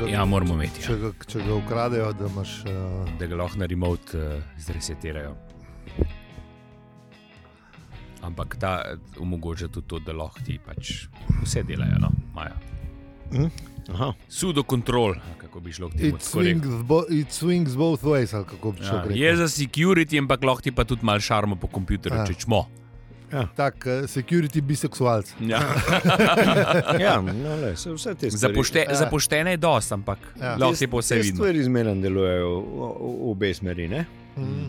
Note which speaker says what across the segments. Speaker 1: ga,
Speaker 2: Ja, moramo imeti.
Speaker 1: če
Speaker 2: Ja.
Speaker 1: ga, če ga ukradejo, da imaš. Uh,
Speaker 2: Da ga lahko na remote uh, zresetirajo. Ampak ta eh, omogoča tudi to, da lahko ti pač vse delajo, no, imajo.
Speaker 3: Aha.
Speaker 2: Sudo kontrol, kako bi šlo k temu.
Speaker 1: it,
Speaker 2: tako rekel.
Speaker 1: swings bo, it swings both ways, ali kako bi šel.
Speaker 2: Ja, je za security, ampak lahko ti pa tudi malo šarmo po
Speaker 1: Ja.
Speaker 2: komputerju, če čmo.
Speaker 1: Tak, eh, security biseksualc.
Speaker 2: Ja.
Speaker 3: Ja, no, le, se vse te
Speaker 2: Za,
Speaker 3: stvari.
Speaker 2: pošte,
Speaker 1: Ja.
Speaker 2: ja. za poštene je dost, ampak
Speaker 1: Ja.
Speaker 2: ja. lahko ti pa vse
Speaker 3: Te
Speaker 2: vidi.
Speaker 3: Stvari zmeraj delujejo v, v, v obe smeri. Ne?
Speaker 1: Mm.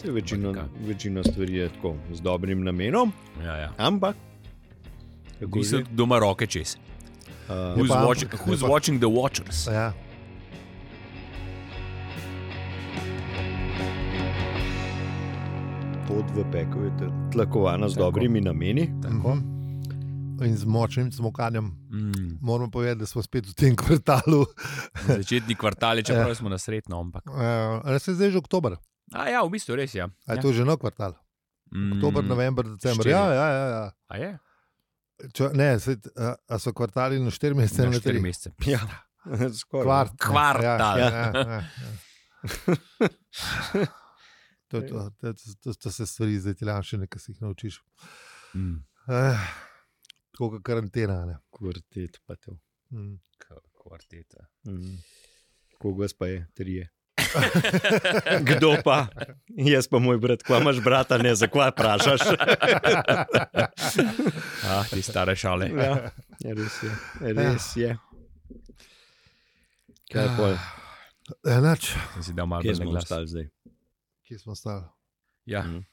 Speaker 3: Saj Večino,
Speaker 2: Ampak
Speaker 3: večino stvari je tako z dobrim namenom,
Speaker 2: Ja, ja.
Speaker 3: ampak kako
Speaker 2: Mislim,
Speaker 3: že?
Speaker 2: da ima roke čez.
Speaker 3: Uh,
Speaker 2: Who's,
Speaker 1: pa-
Speaker 2: watch, who's
Speaker 1: je pa-
Speaker 2: watching the watchers?
Speaker 1: Ja.
Speaker 3: pot v pekel je tlakovana z
Speaker 2: Tako.
Speaker 3: dobrimi nameni.
Speaker 1: Mhm. In z močnim smokanjem.
Speaker 2: Mm,
Speaker 1: Moramo povedati, da smo spet v tem kvartalu.
Speaker 2: začetni kvartal, je, čeprav smo nasretno, ampak.
Speaker 1: Uh, Res je zdaj že oktober.
Speaker 2: A ja, v bistvu res je. Ja.
Speaker 1: A je ja. to že nov kvartal?
Speaker 2: Mm,
Speaker 1: Oktober, november, december.
Speaker 2: štiri.
Speaker 1: Ja, ja, ja. ja.
Speaker 2: A je?
Speaker 1: Če, ne, sed, a, a so kvartali na 4 mesece,
Speaker 2: Na
Speaker 1: na
Speaker 2: štiri
Speaker 1: 3
Speaker 2: mesece.
Speaker 3: Ja, skoraj.
Speaker 1: Kvart,
Speaker 2: Kvartal.
Speaker 1: Ja, ja, ja, ja. To, je to, to, to, to, to se stvari zdaj ti lažje, nekaj si jih naučiš.
Speaker 2: Mm.
Speaker 1: Eh, Tako kot karantena. ne.
Speaker 3: Kvartet pa to.
Speaker 1: Mm.
Speaker 2: Kvarteta.
Speaker 3: Mhm. Koga pa je, trije. Kdo pa? Jaz pa moj brat, kva imaš brata, ne za kva vprašaš.
Speaker 2: Ah, ti stare šale.
Speaker 3: Ja, ja, res je. Res je. Kaj je pol?
Speaker 1: Enač,
Speaker 2: Sem si dal malo
Speaker 3: Ah,
Speaker 2: bolj
Speaker 3: Kje
Speaker 2: na
Speaker 3: smo
Speaker 2: glas.
Speaker 3: ostali zdaj?
Speaker 1: Eh, kje smo stali?
Speaker 2: Ja.
Speaker 3: Mhm.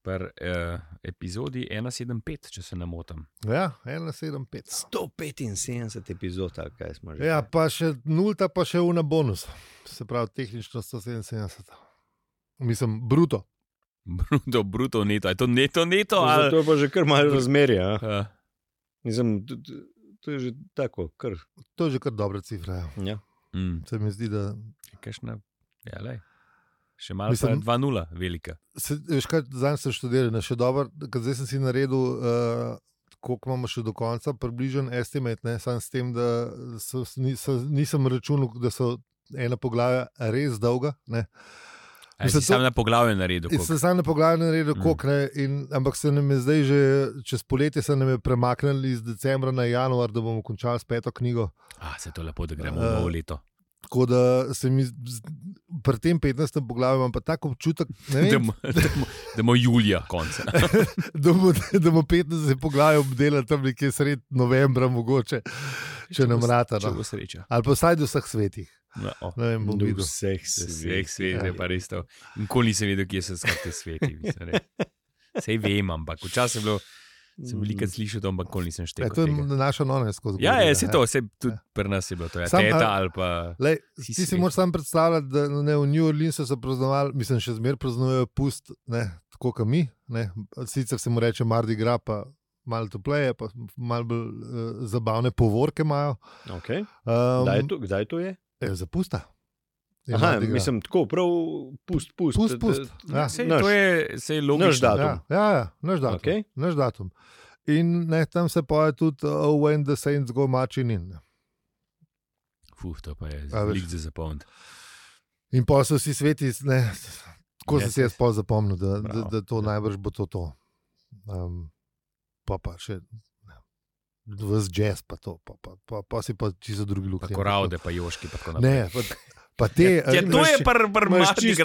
Speaker 2: Pri eh, epizodi 175, če se ne motim.
Speaker 1: Ja, 1,75.
Speaker 3: 175 epizod, ali kaj smo že.
Speaker 1: Ja, pa še nulta, pa še una bonus. Se pravi, tehnično 177. Mislim, bruto.
Speaker 2: Bruto, bruto, neto. Je to neto, neto? Ali...
Speaker 3: Zato je pa že kar malo razmerja. a.
Speaker 2: Uh,
Speaker 3: Mislim, to- to- To je že tako, kar.
Speaker 1: To je že kar dobra cifra. ja.
Speaker 3: Ja.
Speaker 2: mm,
Speaker 1: Se mi zdi, da
Speaker 2: kakšna, ja, lej. Še malo
Speaker 1: Mislim-
Speaker 2: Mislim... 2-0, velika.
Speaker 1: Se, veš, kaj, zdaj sem študiral, še dobro, ker zdaj sem si naredil, uh, koliko imamo še do konca, približen estimate, ne, samo s tem, da so, ni, so, nisem računal, da so ena poglavja res dolga. Ne.
Speaker 2: A
Speaker 1: Mislim,
Speaker 2: si
Speaker 1: to-
Speaker 2: sam na poglavju naredil.
Speaker 1: In
Speaker 2: Ja, koliko?
Speaker 1: sem sam na poglavju naredil,
Speaker 2: Mm.
Speaker 1: koliko ne, in, ampak se nam je zdaj že čez poletje se nam je premaknili iz decembra na januar, da bomo končali s peto knjigo.
Speaker 2: A, se to lepo, da
Speaker 1: Eh,
Speaker 2: gremo v novo leto.
Speaker 1: Tako da se mi z- z- pri tem 15. poglavju imam pa tako občutek, ne
Speaker 2: Da
Speaker 1: vem,
Speaker 2: bomo- da bomo- da bomo julija konca.
Speaker 1: da bomo, da bomo 15 poglavij obdelali tam nekje sred novembra, mogoče, če nam
Speaker 2: bo-
Speaker 1: rata.
Speaker 2: Če
Speaker 1: No.
Speaker 2: bo sreča.
Speaker 1: Ali pa vsaj do vseh svetih.
Speaker 2: No, o.
Speaker 1: Ne vem, Ja, bom
Speaker 3: Do
Speaker 1: videl.
Speaker 3: Vseh
Speaker 2: Vseh ja.
Speaker 3: svet. Ja.
Speaker 2: svet je pa res to. Nikoli nisem vedel, kje so skakti sveti. mislim, res. Sej vem, ampak včasih je bilo, sem veliko slišal, to, ampak nikoli nisem
Speaker 1: Ja,
Speaker 2: štel.
Speaker 1: to je naša nonensko zgodba.
Speaker 2: Ja, je, se to, se tudi pri nas je bilo to. Ja,
Speaker 1: Sam,
Speaker 2: teta
Speaker 1: a-
Speaker 2: ali pa.
Speaker 1: Lej,
Speaker 2: Si
Speaker 1: ti si
Speaker 2: svet.
Speaker 1: moraš sam predstavljati, da no, ne, v New Orleansu so praznovali, mislim, še zmeraj praznujejo pust, ne, tako kot mi. Ne. Sicer se mu reče Mardi Gras, pa malo topleje, pa malo bolj uh, zabavne povorke imajo.
Speaker 3: Okay.
Speaker 1: Um,
Speaker 3: Mm. Kdaj, to, kdaj to je?
Speaker 1: eh, Zapusta. Je
Speaker 3: Aha,
Speaker 1: Mardi Gras.
Speaker 3: mislim, tako prav, pust, pust.
Speaker 1: Pust, pust, ja.
Speaker 2: Sej,
Speaker 3: naš.
Speaker 2: to je, sej
Speaker 3: Naš
Speaker 2: logično.
Speaker 3: datum.
Speaker 1: Ja, ja, ja naš datum.
Speaker 3: Okej.
Speaker 1: Okay. Naš datum. In ne, tam se poje tudi Oh, when the saints go marching in.
Speaker 2: Fuh, to pa je
Speaker 1: A, veš.
Speaker 2: velik za zapomniti.
Speaker 1: In pa so vsi sveti, ne, tako sem
Speaker 2: Yes,
Speaker 1: si jaz pa zapomnil, da, da,
Speaker 2: Bravo.
Speaker 1: da to najbrž bo to. to. Um, pa pa še. Ves jazz, pa to, pa, pa, pa, pa si pa čisto drugi
Speaker 2: Pa
Speaker 1: luknji.
Speaker 2: koravde, pa joški, pa tako naprej.
Speaker 1: Ja, Ne, pa, pa te.
Speaker 2: Ja, to je par
Speaker 3: Imaš
Speaker 2: marši
Speaker 3: čiste, e,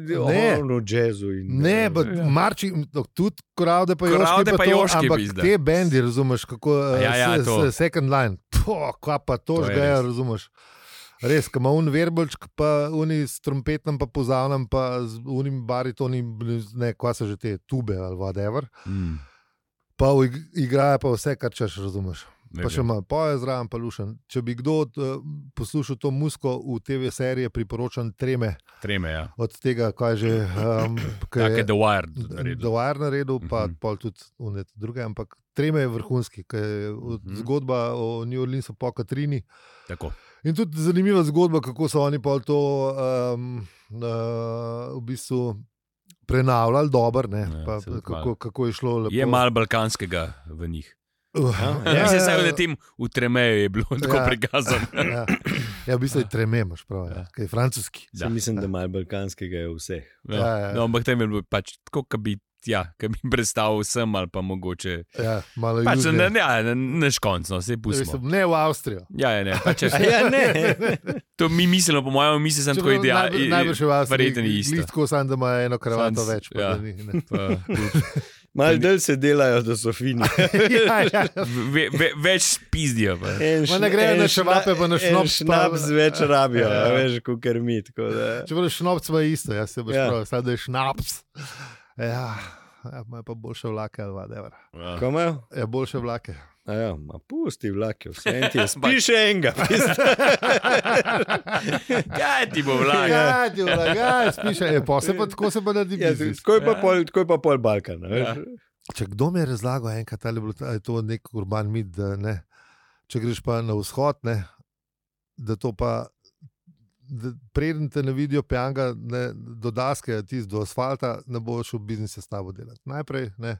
Speaker 2: gravo.
Speaker 1: Ne.
Speaker 3: ono v jazzu. in-
Speaker 1: Ne, pa
Speaker 2: Ja.
Speaker 1: marči, no, tudi koravde pa
Speaker 2: Koralde
Speaker 1: joški,
Speaker 2: pa
Speaker 1: pa to,
Speaker 2: joški,
Speaker 1: ampak
Speaker 2: pizda.
Speaker 1: te bendi, razumeš, kako
Speaker 2: Ja, ja,
Speaker 1: se
Speaker 2: to.
Speaker 1: se- second line, Poh, kva pa to
Speaker 2: To je
Speaker 1: žgejo,
Speaker 2: res.
Speaker 1: razumeš. Res, ko ima un verbalčk, pa uni s trompetom, pa pozavnem, pa z unim baritonim, ne, kva se že te tube ali whatever,
Speaker 2: Mm,
Speaker 1: pa v ig- igrajo pa vse, kar češ, razumeš.
Speaker 2: ne
Speaker 1: Pa še
Speaker 2: vem.
Speaker 1: malo poje zraven, pa lušen. Če bi kdo od, eh, poslušal to muziko v TV serije, priporočam treme
Speaker 2: Treme, ja.
Speaker 1: od tega, kaj že. Um,
Speaker 2: Tako je The Wired. naredil.
Speaker 1: Dovar naredil, pa uh
Speaker 2: Mhm.
Speaker 1: -huh. pol tudi unet druge, ampak treme je vrhunski, ker je od-
Speaker 2: Mhm.
Speaker 1: zgodba o New Orleansu po Katrini.
Speaker 2: Tako.
Speaker 1: In tudi zanimiva zgodba, kako so oni pol to um, uh, v bistvu prenavljali, dober, ne,
Speaker 2: Ja,
Speaker 1: pa,
Speaker 2: se tudi
Speaker 1: kako,
Speaker 2: malo.
Speaker 1: kako je šlo lepo.
Speaker 2: Je malo balkanskega v njih.
Speaker 1: Uh,
Speaker 2: Ja, ja, ja, ja. Tem, v Tremeju je bilo tako ja.
Speaker 1: Ja.
Speaker 2: prikazano.
Speaker 1: ja. ja, v bistvu je treme, imaš prav, ja. kaj je francoski.
Speaker 2: Da.
Speaker 3: Ja. Mislim, da malo balkanskega je vseh.
Speaker 2: Ja.
Speaker 1: Ja,
Speaker 2: Ja,
Speaker 1: ja.
Speaker 2: ja. No, ampak tam je bilo pač tako, da bi, ja, ka bi predstavil sem ali pa mogoče.
Speaker 1: Ja, malo
Speaker 2: Pač,
Speaker 1: južne.
Speaker 2: ne, ja, ne, neš končno, se
Speaker 1: Mislim,
Speaker 2: pustimo.
Speaker 1: ne v Avstrijo.
Speaker 2: Ja, ja, ne, pač,
Speaker 3: A ja, ne.
Speaker 2: to mi mislimo, po mojem, misli sem tako idealno.
Speaker 1: Najbrž- Najbrž je v Avstriji.
Speaker 2: Verjetno ni isto.
Speaker 1: Listko sam, da ima eno kravato
Speaker 2: Samo-
Speaker 1: več. pa
Speaker 2: ja.
Speaker 1: da ni, ne.
Speaker 2: Pa,
Speaker 3: Mal del se delajo, da so fini.
Speaker 1: Ja, ja.
Speaker 2: ve, ve, več spizdijo. pa.
Speaker 3: En
Speaker 1: Ma ne grejo
Speaker 3: en
Speaker 1: na
Speaker 3: šna-
Speaker 1: ševape, pa na
Speaker 3: en
Speaker 1: šnops, pa-
Speaker 3: Šnaps več rabijo,
Speaker 1: Ja.
Speaker 3: ja. veš, kot krmi. tako da.
Speaker 1: Če boš šnops, ima isto, jaz se boš
Speaker 3: Ja.
Speaker 1: ja. prav, sad da je šnaps. Ja, ja ima pa boljše vlake, ali vadevra.
Speaker 2: Ja.
Speaker 3: Ko imajo?
Speaker 1: Ja, boljše vlake.
Speaker 3: A Ja, ma pusti vlake, vse en ti je. Ja, Spiš še enega. pizda.
Speaker 2: Kaj ti bo vlaga?
Speaker 1: Ja, ti vlagaj, spiše. E, pa se pa tako se pa naredi
Speaker 3: Ja,
Speaker 1: biznis.
Speaker 3: tako je pa
Speaker 2: Ja.
Speaker 3: pol, tako je pa pol Balkana. veš.
Speaker 1: Ja. Če kdo mi je razlagal, enkrat ali je bilo ta- a je to nek urban mit, da ne. Če greš pa na vzhod, ne, da to pa. da Preden te ne vidijo pijanga, ne, do daske, ti do asfalta, ne boš v biznisu s tabo delati. Najprej ne.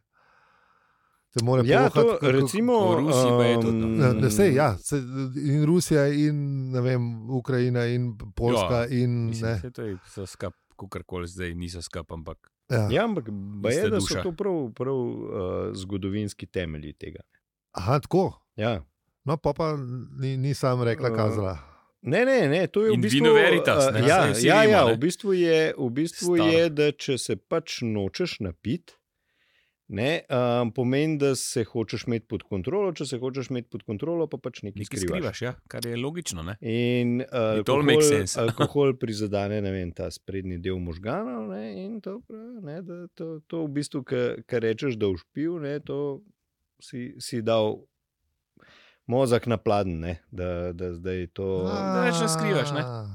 Speaker 1: Te mora
Speaker 3: Ja,
Speaker 1: pohati,
Speaker 3: to recimo.
Speaker 2: v Rusiji pa je to tam.
Speaker 1: Ne, ne,
Speaker 2: Mm.
Speaker 1: sej, ja, se, in Rusija, in ne vem, Ukrajina, in Poljska.
Speaker 2: Ja,
Speaker 1: in,
Speaker 2: Mislim,
Speaker 1: ne,
Speaker 2: vse to je so skup, kakorkoli zdaj niso skup, ampak
Speaker 1: ja.
Speaker 3: Ja, ampak baje,
Speaker 2: Ista
Speaker 3: da so
Speaker 2: duša.
Speaker 3: to prav, prav uh, zgodovinski temelji tega.
Speaker 1: Aha, tako.
Speaker 3: Ja.
Speaker 1: No, pa, pa ni, ni sam rekla,
Speaker 2: Ja.
Speaker 3: Eh,
Speaker 1: kazala.
Speaker 3: Ne, ne, ne, to je
Speaker 2: In
Speaker 3: v bistvu.
Speaker 2: vino veritas,
Speaker 3: uh,
Speaker 2: ne,
Speaker 3: ja,
Speaker 2: saj vsi
Speaker 3: ja,
Speaker 2: vemo,
Speaker 3: ja,
Speaker 2: ne.
Speaker 3: v bistvu, je, v bistvu
Speaker 2: Staro.
Speaker 3: je, da če se pač nočeš napiti, ne, um, pomeni, da se hočeš imeti pod kontrolo, če se hočeš imeti pod kontrolo, pa pač nekaj,
Speaker 2: nekaj
Speaker 3: nekaj skrivaš.
Speaker 2: skrivaš, ja, kar je logično. Ne?
Speaker 3: In uh,
Speaker 2: It all makes
Speaker 3: alkohol,
Speaker 2: sense.
Speaker 3: alkohol prizadene ne vem, ta sprednji del možganov. Ne, in to, pravi, ne, da to, to v bistvu, kar rečeš, da ušpil, ne, to si, si dal mozak na pladen, ne, da, da zdaj to.
Speaker 2: da več ne skrivaš, ne.
Speaker 1: Ah.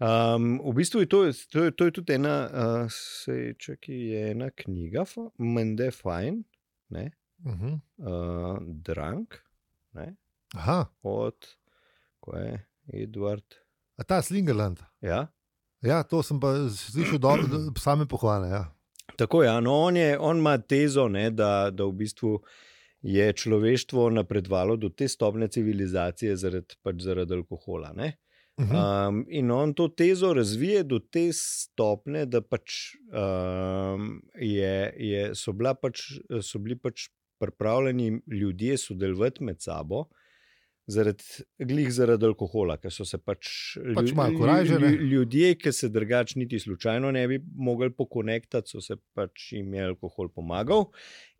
Speaker 3: Um, v bistvu je to, to, je- to je tudi ena, uh, se čaki, je ena knjiga, Mende Fine, ne,
Speaker 1: Uh -huh.
Speaker 3: uh, Drunk, ne,
Speaker 1: Aha,
Speaker 3: od, ko je Edward.
Speaker 1: a ta Slingerland.
Speaker 3: Ja.
Speaker 1: Ja, to sem pa slišal, dobro, da same pohvale. Ja.
Speaker 3: Tako je, no, on, je, on ima tezo, ne, da, da v bistvu je človeštvo napredovalo do te stopne civilizacije zaradi, pač zaradi alkohola. Ne?
Speaker 1: Uh -huh.
Speaker 3: Um, in on to tezo razvije do te stopne, da pač, um, je, je, so, bila pač, so bili pač pripravljeni ljudje sodelovati med sabo. Zaradi, glih zaradi alkohola, ker so se pač,
Speaker 1: Pač
Speaker 3: lju-
Speaker 1: malo
Speaker 3: lju-
Speaker 1: korajže, ne?
Speaker 3: lju- ljudje, ki se drugače niti slučajno ne bi mogli pokonektati, so se pač jim je alkohol pomagal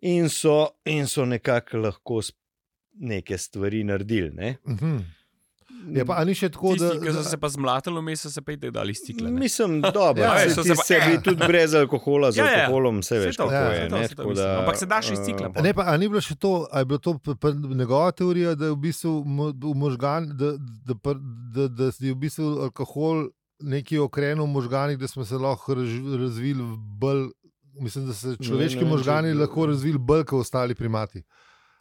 Speaker 3: in so, in so nekako lahko s- neke stvari naredili. Ne?
Speaker 1: Uh -huh. Je Ja, pa a ni še tako, da.
Speaker 2: Tisti, ki so se pa zmlatili, vmes so se pa idej dali stikle. ne.
Speaker 3: Mislim, dobro,
Speaker 1: Ja,
Speaker 3: ja,
Speaker 1: veš,
Speaker 3: se,
Speaker 2: so
Speaker 3: ti
Speaker 2: se pa-
Speaker 3: se bi tudi brez alkohola, z
Speaker 2: Ja,
Speaker 3: ja,
Speaker 2: ja.
Speaker 3: alkoholom, se
Speaker 2: Sej
Speaker 3: veš,
Speaker 2: to,
Speaker 3: kako
Speaker 1: ja,
Speaker 3: je.
Speaker 1: sej
Speaker 2: to,
Speaker 3: ne,
Speaker 2: sej to
Speaker 3: tako
Speaker 2: mislim.
Speaker 3: da,
Speaker 2: Ampak se daš iz cikla
Speaker 3: eh,
Speaker 2: pol.
Speaker 1: Ne, pa, a ni bilo še to, ali je bila to pr, pr, njegova teorija, da je v bistvu mo- v možgan, da, da, pr, da, da je v bistvu alkohol nekaj okrenil v možganih, da smo se lahko razž- razvili v bolj. Mislim, da se človeški
Speaker 3: ne vem, če-
Speaker 1: možgani lahko razvili bolj kot ostali primati.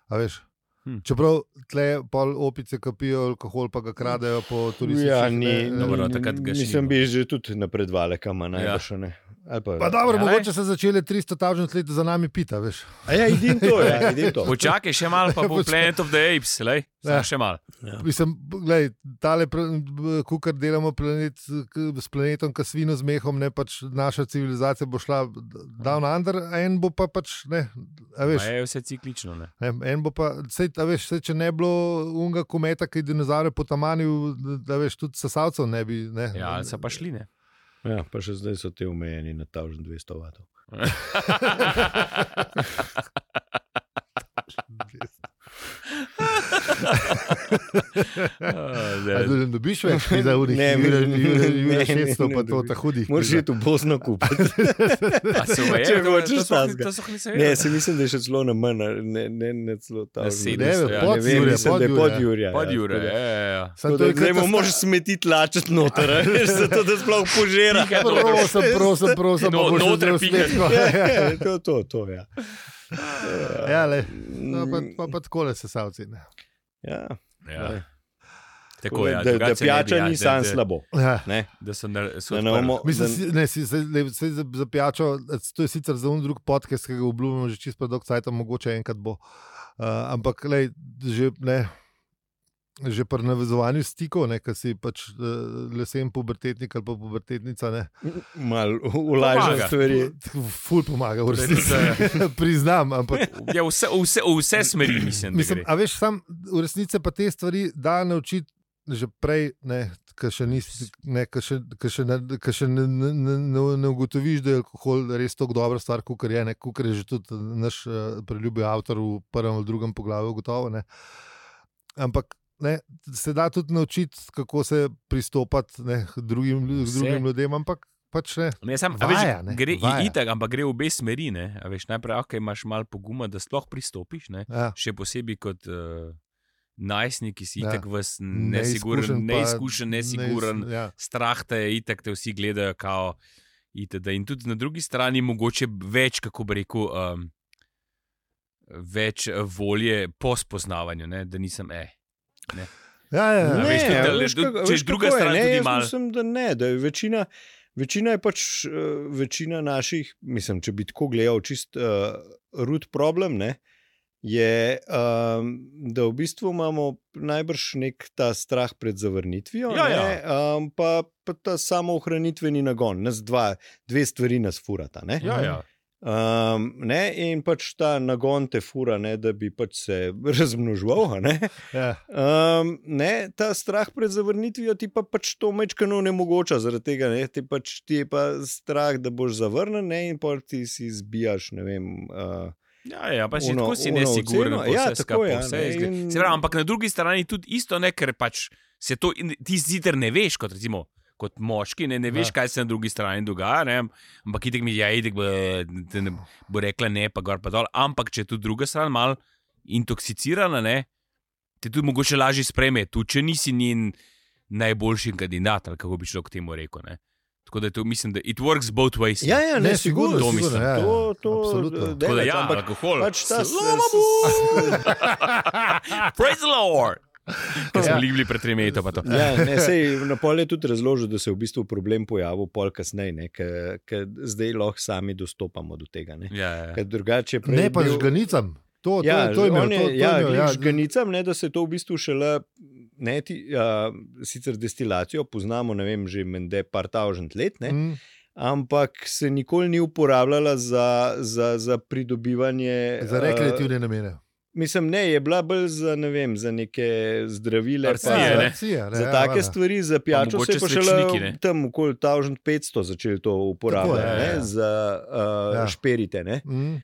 Speaker 1: A veš?
Speaker 2: Hm.
Speaker 1: Čeprav tle pol opice kapijo alkohol, pa ga kradejo po turističnih eh,
Speaker 3: Ja,
Speaker 1: ne,
Speaker 3: ni,
Speaker 1: ne.
Speaker 2: Dobro, takrat ga še
Speaker 3: nisem
Speaker 2: ni
Speaker 3: bi že tudi napredovali, kam najbrž. Ja. Pa,
Speaker 1: Pa dobro,
Speaker 2: Ja,
Speaker 1: ja,
Speaker 2: lej.
Speaker 1: mogoče so začeli 300 tavžnih let za nami pita, veš.
Speaker 3: A ja, idim to, ja, idim to.
Speaker 2: Počakaj še malo, pa bo
Speaker 1: Počakaj.
Speaker 2: Planet of the Apes, lej,
Speaker 1: Ja.
Speaker 2: ja. še malo.
Speaker 1: Mislim, gledaj, tale, kukar delamo planet, k- s planetom, ki svino z mehom, ne pač naša civilizacija bo šla down under, a en bo pa pač, ne, a
Speaker 2: Pa
Speaker 1: veš,
Speaker 2: Je vse ciklično. Ne?
Speaker 1: ne, en bo pa, sej, a veš, sej, če ne bi bilo unga kometa, ki je dinozaure potamanil, da veš, tudi sesalcev ne bi, ne.
Speaker 2: Ja, ali so pa šli ne.
Speaker 3: Ja, pa še zdaj so ti omejeni na 1200 vatov.
Speaker 2: A,
Speaker 1: Ja. A
Speaker 2: Ja, zdaj-
Speaker 1: da ne dobiš več, da urih,
Speaker 3: eh, Ne,
Speaker 1: jure,
Speaker 3: ne,
Speaker 1: jure,
Speaker 3: ne,
Speaker 1: jure,
Speaker 3: ne,
Speaker 1: šeststo,
Speaker 3: ne
Speaker 1: pa to,
Speaker 3: dobiš.
Speaker 1: ta hudih.
Speaker 3: Moraš iti v Bosno
Speaker 2: Ja.
Speaker 3: kupiti.
Speaker 2: a se omeje?
Speaker 3: Če
Speaker 2: To-
Speaker 3: hočeš
Speaker 2: to sploh ni-
Speaker 3: takega.
Speaker 2: To so hni se
Speaker 3: Ne, se mislim, da je še celo na manj, ne, ne, ne celo tam.
Speaker 2: Na
Speaker 1: Ne,
Speaker 2: 700, ja.
Speaker 1: pod
Speaker 3: ne vem,
Speaker 1: Jurja,
Speaker 3: mislim, da je pod Jurja.
Speaker 2: Pod
Speaker 3: ja,
Speaker 2: Jure,
Speaker 3: tako da-
Speaker 2: ja, ja, ja.
Speaker 1: Sam
Speaker 3: Tako da Zdaj mu
Speaker 1: katastrofa.
Speaker 3: moraš smeti tlačiti noter, a veš, zato da sploh požira.
Speaker 2: Pika noter.
Speaker 1: Prosim, prosim, prosim, pa
Speaker 2: No,
Speaker 1: boš
Speaker 2: noter
Speaker 1: vzel
Speaker 2: pikaj.
Speaker 1: smetko.
Speaker 3: Ja, to, to, to, ja. Mm,
Speaker 1: Ja, le. No, pa, pa, pa tako le sesalci. Ne.
Speaker 3: Ja,
Speaker 2: Ja.
Speaker 3: ne.
Speaker 2: Tako je, ja,
Speaker 3: da, da
Speaker 2: drugače se ne bi, ja,
Speaker 3: pijača
Speaker 2: da-
Speaker 3: ni sam
Speaker 2: da-
Speaker 3: slabo.
Speaker 1: Ja.
Speaker 3: Ne?
Speaker 2: Da so na
Speaker 3: Da ne bomo-
Speaker 1: Mislim, si- ne, si, se, ne, se zapijačo, eh, to je sicer za un drug podcast, ki ga obljubljamo že čisto predolg cajt, mogoče enkrat bo. Uh, ampak, lej, že, ne, že pri navezovanju stikov, ne, ki si pač uh, lesen pubertetnik ali pa pubertetnica, ne,
Speaker 3: Mal ulažem
Speaker 2: Pomaga.
Speaker 3: stvari.
Speaker 1: ful pomaga, v resnici.
Speaker 2: Verjetno,
Speaker 1: Priznam, ampak
Speaker 2: Ja, vse, vse, vse smeri, mislim. da
Speaker 1: Mislim,
Speaker 2: gre.
Speaker 1: a veš, sam v resnici se pa te stvari da naučiti že prej, ker še, nisi- ne, ko še, ko še, ne, ko še ne, ne, ne- ne, ne ugotoviš, da je alkohol res tako dobra stvar, kot je. Kot je že tudi naš uh, priljubljen avtor v prvem ali drugem poglavju, gotovo. Ne. Ampak ne, se da tudi naučiti, kako se pristopati ne, k drugim, lju- k
Speaker 2: Vse.
Speaker 1: drugim ljudem, ampak pač ne.
Speaker 2: Ne, sam, a
Speaker 1: Vaja, ne,
Speaker 2: veš, gre
Speaker 1: vaja.
Speaker 2: i- itak, ampak gre v obe smeri. ne. A Veš, najprej okay, imaš malo poguma, da sploh pristopiš. Ne?
Speaker 1: Ja.
Speaker 2: Še posebej kot uh, najstnik, ki si
Speaker 1: Ja.
Speaker 2: itak ja. vas nesiguren,
Speaker 1: Neizkušen pa-
Speaker 2: neizkušen, nesiguren.
Speaker 1: neis- Ja.
Speaker 2: strah te je, itek te vsi gledajo. Kao, itd. In tudi na drugi strani mogoče več, kako bi rekel, um, več eh, volje po spoznavanju, ne? da nisem e.
Speaker 1: Ja, ja, ja.
Speaker 2: Ne, veš, tudi, da- tudi-
Speaker 3: kako-
Speaker 2: če
Speaker 3: veš,
Speaker 2: druga
Speaker 3: kako je,
Speaker 2: stran
Speaker 3: ne,
Speaker 2: tudi
Speaker 3: jaz
Speaker 2: malo-
Speaker 3: Mislim, da ne, da je večina. Večina je pač, eh, večina naših, mislim, če bi tako gledal, čist uh, rud problem, ne, je, um, da v bistvu imamo najbrž nek ta strah pred zavrnitvijo,
Speaker 2: Ja,
Speaker 3: ne,
Speaker 2: ja.
Speaker 3: Um, pa, pa ta samoohranitveni nagon. Nas dva, dve stvari nas furata. Ne.
Speaker 2: Ja, ja.
Speaker 3: Um, ne, in pač ta nagon te fura, ne, da bi pač se razmnožval. a Ne.
Speaker 1: Ja.
Speaker 3: Um, ne, ta strah pred zavrnitvijo ti pa pač to mečkano ne mogoče, zaradi tega ne, ti, pač, ti je pa strah, da boš zavrnjen ne, in pa ti si zbijaš. ne Vem, uh,
Speaker 2: Ja, ja, pa si
Speaker 3: Ono-
Speaker 2: tako si
Speaker 3: ono
Speaker 2: nesiguren,
Speaker 3: oceno,
Speaker 2: pa
Speaker 3: ja,
Speaker 2: vse
Speaker 3: tako,
Speaker 2: skapa,
Speaker 3: ja,
Speaker 2: vse
Speaker 3: ne,
Speaker 2: izgleda.
Speaker 3: in-
Speaker 2: Se pravi, ampak na drugi strani tudi isto ne, ker pač se to in- ti ziter ne veš, kot recimo. Kot moški, ne, ne veš,
Speaker 1: Ja.
Speaker 2: kaj se na drugi strani dogaja, ne? ampak itek mi je, ja, itek bo, te ne bo rekla ne, pa gor pa dol. Ampak če je tudi druga stran malo intoksicirana, ne, te tudi mogoče lažje sprejme, tudi če nisi njen najboljši kandidat, ali kako bi človek temu rekel. Ne? Tako da to mislim, da it works both ways. ne.
Speaker 3: ja, ja, ne,
Speaker 1: Ne,
Speaker 3: sigurno,
Speaker 1: sigurno,
Speaker 2: To mislim.
Speaker 3: sigurno,
Speaker 1: ja, ja,
Speaker 3: to, to
Speaker 1: absolutno.
Speaker 3: eh,
Speaker 2: Tako da
Speaker 3: delaš,
Speaker 2: ja,
Speaker 3: ampak
Speaker 2: alkohol.
Speaker 3: pač ta s-
Speaker 2: Slava
Speaker 3: s-
Speaker 2: Praise the Lord! Ker smo
Speaker 1: Ja.
Speaker 2: bili bili pred tremi leti, pa to.
Speaker 3: Ja, ne, sej, na pol je tudi razložil, da se je v bistvu problem pojavil pol kasneje, ker zdaj lahko sami dostopamo do tega. Ne,
Speaker 2: Ja, ja.
Speaker 3: Ker drugače je prej.
Speaker 1: Ne pa
Speaker 3: bil-
Speaker 1: žganicam. To, to,
Speaker 3: Ja,
Speaker 1: to je imel,
Speaker 3: on
Speaker 1: to,
Speaker 3: je-
Speaker 1: to je
Speaker 3: ja,
Speaker 1: imel,
Speaker 3: glih
Speaker 1: ja.
Speaker 3: žganicam, ne, da se to v bistvu šele, ne, ti, a, sicer destilacijo poznamo, ne vem, že mende par tavžent let, ne,
Speaker 1: Mm,
Speaker 3: ampak se nikoli ni uporabljala za, za, za pridobivanje.
Speaker 1: za
Speaker 3: A,
Speaker 1: rekreativne namene.
Speaker 3: mislim, ne, je bila bolj za, ne vem, za neke zdravile.
Speaker 2: Arcije,
Speaker 3: pa
Speaker 2: ne.
Speaker 3: za-
Speaker 1: Ja, Arcija, ne,
Speaker 3: Za
Speaker 1: ja,
Speaker 3: take
Speaker 1: valjda.
Speaker 3: stvari, za pijačo, se je
Speaker 2: mogoče
Speaker 3: pa šele
Speaker 2: svečniki, ne.
Speaker 3: tam okoli 1500 začeli to uporabljati,
Speaker 1: Tako, ja,
Speaker 3: ne,
Speaker 1: ja.
Speaker 3: za uh,
Speaker 1: Ja.
Speaker 3: šperite. Ne.
Speaker 1: Mm,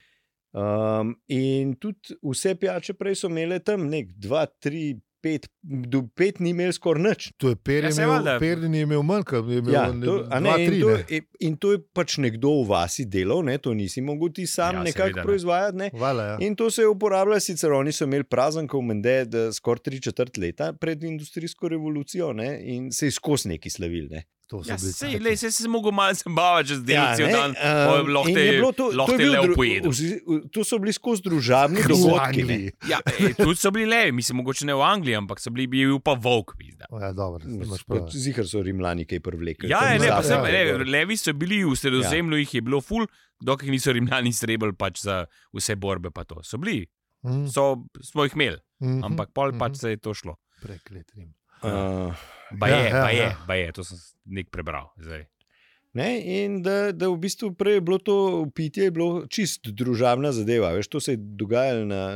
Speaker 3: Um, in tudi vse pijače prej so imele tam nek 2, 3, 5, do 5 ni imel skoraj nič.
Speaker 1: to je
Speaker 2: Ja,
Speaker 1: Perrin
Speaker 2: saj
Speaker 1: imel,
Speaker 2: valjda.
Speaker 1: Perrin je imel manj, kot je imel
Speaker 3: Ja,
Speaker 1: ne,
Speaker 3: to, a
Speaker 1: dva,
Speaker 3: ne, in,
Speaker 1: tri.
Speaker 3: to,
Speaker 1: ne.
Speaker 3: in- in to je pač nekdo v vasi delal, ne, to nisi mogel ti sam ja,
Speaker 2: Ja,
Speaker 3: nekako
Speaker 2: seveda, ne.
Speaker 3: proizvajati. Ne.
Speaker 1: Hvala, ja.
Speaker 3: In to se je uporabljalo, sicer oni so imeli prazen, ko mende, da skoraj tri četrt leta pred industrijsko revolucijo ne, in se je skozi neki slavil. Ne.
Speaker 1: To so
Speaker 2: Ja,
Speaker 1: bili
Speaker 2: sej,
Speaker 1: taki.
Speaker 2: lej, sej se mogo malo zabavati, če zdaj
Speaker 3: Ja,
Speaker 2: cel
Speaker 3: ne,
Speaker 2: dan.
Speaker 3: ehm,
Speaker 2: pol lahko
Speaker 3: in
Speaker 2: te-
Speaker 3: je bilo to-
Speaker 2: lahko
Speaker 3: to je
Speaker 2: te
Speaker 3: bil
Speaker 2: lev
Speaker 3: dru-
Speaker 2: pojedel.
Speaker 3: vsi- To so bili skozi družabni
Speaker 1: Kdo v
Speaker 3: dogodki. ne.
Speaker 1: Angliji.
Speaker 2: Ja, e, tudi so bili levi, mislim, mogoče ne v Angliji, ampak so bili bil pa volk. Pizda.
Speaker 1: O, Ja, dobro, imaš prav.
Speaker 3: Zihar so rimljani kaj privlekli.
Speaker 2: Ja,
Speaker 3: tam
Speaker 2: je, ne,
Speaker 1: ja,
Speaker 2: pa
Speaker 3: zadaj,
Speaker 2: sem,
Speaker 1: ja,
Speaker 2: ne,
Speaker 3: gor.
Speaker 2: levi so bili v sredozemlju, jih je bilo ful, dokler niso rimljani srebali pač za vse borbe. pa to. So bili,
Speaker 1: Mm,
Speaker 2: so, smo jih imeli,
Speaker 1: mhm,
Speaker 2: ampak pol
Speaker 1: mhm.
Speaker 2: pač se je to šlo.
Speaker 1: Preklet Rim.
Speaker 3: Uh,
Speaker 2: Ba
Speaker 1: Ja,
Speaker 2: je,
Speaker 1: ja,
Speaker 2: ba je,
Speaker 1: ja.
Speaker 2: ba je, to sem nek prebral. Zdaj.
Speaker 3: Ne, in da, da v bistvu prej je bilo to pitje, je bilo čist družabna zadeva. Veš, to se je dogajalo na,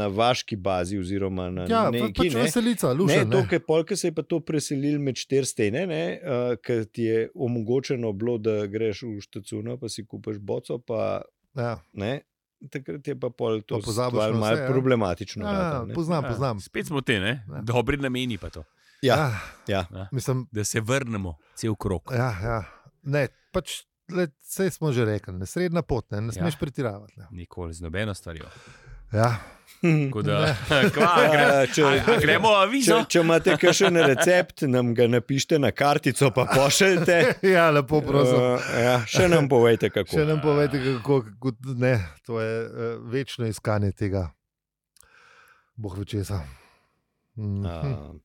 Speaker 3: na vaški bazi, oziroma na
Speaker 1: Ja, pa-
Speaker 3: neki
Speaker 1: pač
Speaker 3: ne.
Speaker 1: veselica,
Speaker 3: Ne,
Speaker 1: lušen.
Speaker 3: to,
Speaker 1: ne.
Speaker 3: kar polka se je pa to preselil med štiri stene, ne, uh, ker ti je omogočeno bilo, da greš v štacuno, pa si kupaš boco, pa
Speaker 1: Ja,
Speaker 3: ne. Takrat je pa pol to
Speaker 1: Pa pozabiš
Speaker 3: stvar
Speaker 1: na
Speaker 3: malo
Speaker 1: vse, ja.
Speaker 3: problematično.
Speaker 1: ja,
Speaker 3: ratalo, No, ne.
Speaker 1: poznam, poznam.
Speaker 2: Spet smo te, ne?
Speaker 1: Ja.
Speaker 2: Dobri nameni pa to.
Speaker 3: ja,
Speaker 1: Ja,
Speaker 3: ja.
Speaker 1: mislim,
Speaker 2: Da se vrnemo cel krok.
Speaker 1: ja, ja. Ne, pač, le, sej smo že rekli, ne, srednja pot, ne, ne
Speaker 2: Ja.
Speaker 1: smeš pretiravati. ne.
Speaker 2: Nikoli z nobeno stvarjo.
Speaker 1: Ja,
Speaker 2: Tako Da, kva, gre,
Speaker 3: Ja, če-
Speaker 2: a, a gremo
Speaker 3: Če,
Speaker 2: avizo.
Speaker 3: če imate kakšen recept, nam ga napišite na kartico, pa pošljite.
Speaker 1: ja lepo prosim.
Speaker 3: Uh, ja, še nam povejte, kako.
Speaker 1: Še nam povete, kako, kako ne, to je uh, večno
Speaker 3: Eh,
Speaker 1: iskanje tega, boh večesa. Mm.
Speaker 3: Uh,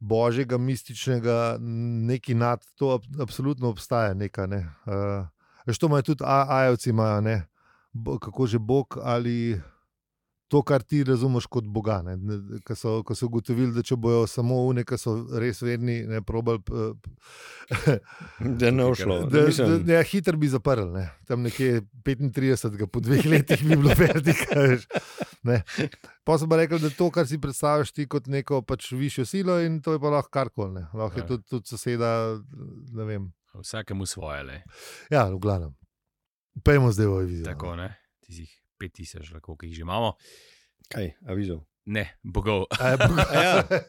Speaker 1: božjega, mističnega, nekaj nad to, ab, absolutno obstaja. Neka, ne. uh, veš, to imajo tudi a- ajovci, imajo, ne, bo, kako že Bog ali to, kar ti razumeš kot Boga. Ne, ne, ko, so, ko so ugotovili, da če bojo samo une, ki so res verni, ne eh, probal.
Speaker 3: da ne ušlo.
Speaker 1: Da,
Speaker 3: Mislim,
Speaker 1: da, da, ja, hitro bi zaprl, ne. tam nekje 35, po dveh letih bi bilo vertik. Pa so pa rekli, da to, kar si predstavljaš ti kot neko pač višjo silo, in to je pa lahko karkoli. ne. Lahko je
Speaker 2: Ja.
Speaker 1: tudi, tudi soseda, ne vem.
Speaker 2: Vsakemu svoje, le.
Speaker 1: Ja, v glavnem. Pejmo zdaj v no. vizijo.
Speaker 2: Tako ne, tistih 5000, ali koliko jih že imamo.
Speaker 3: Kaj, avizov.
Speaker 2: Ne, bogov.
Speaker 1: A je Bog-
Speaker 3: Ja. Eh,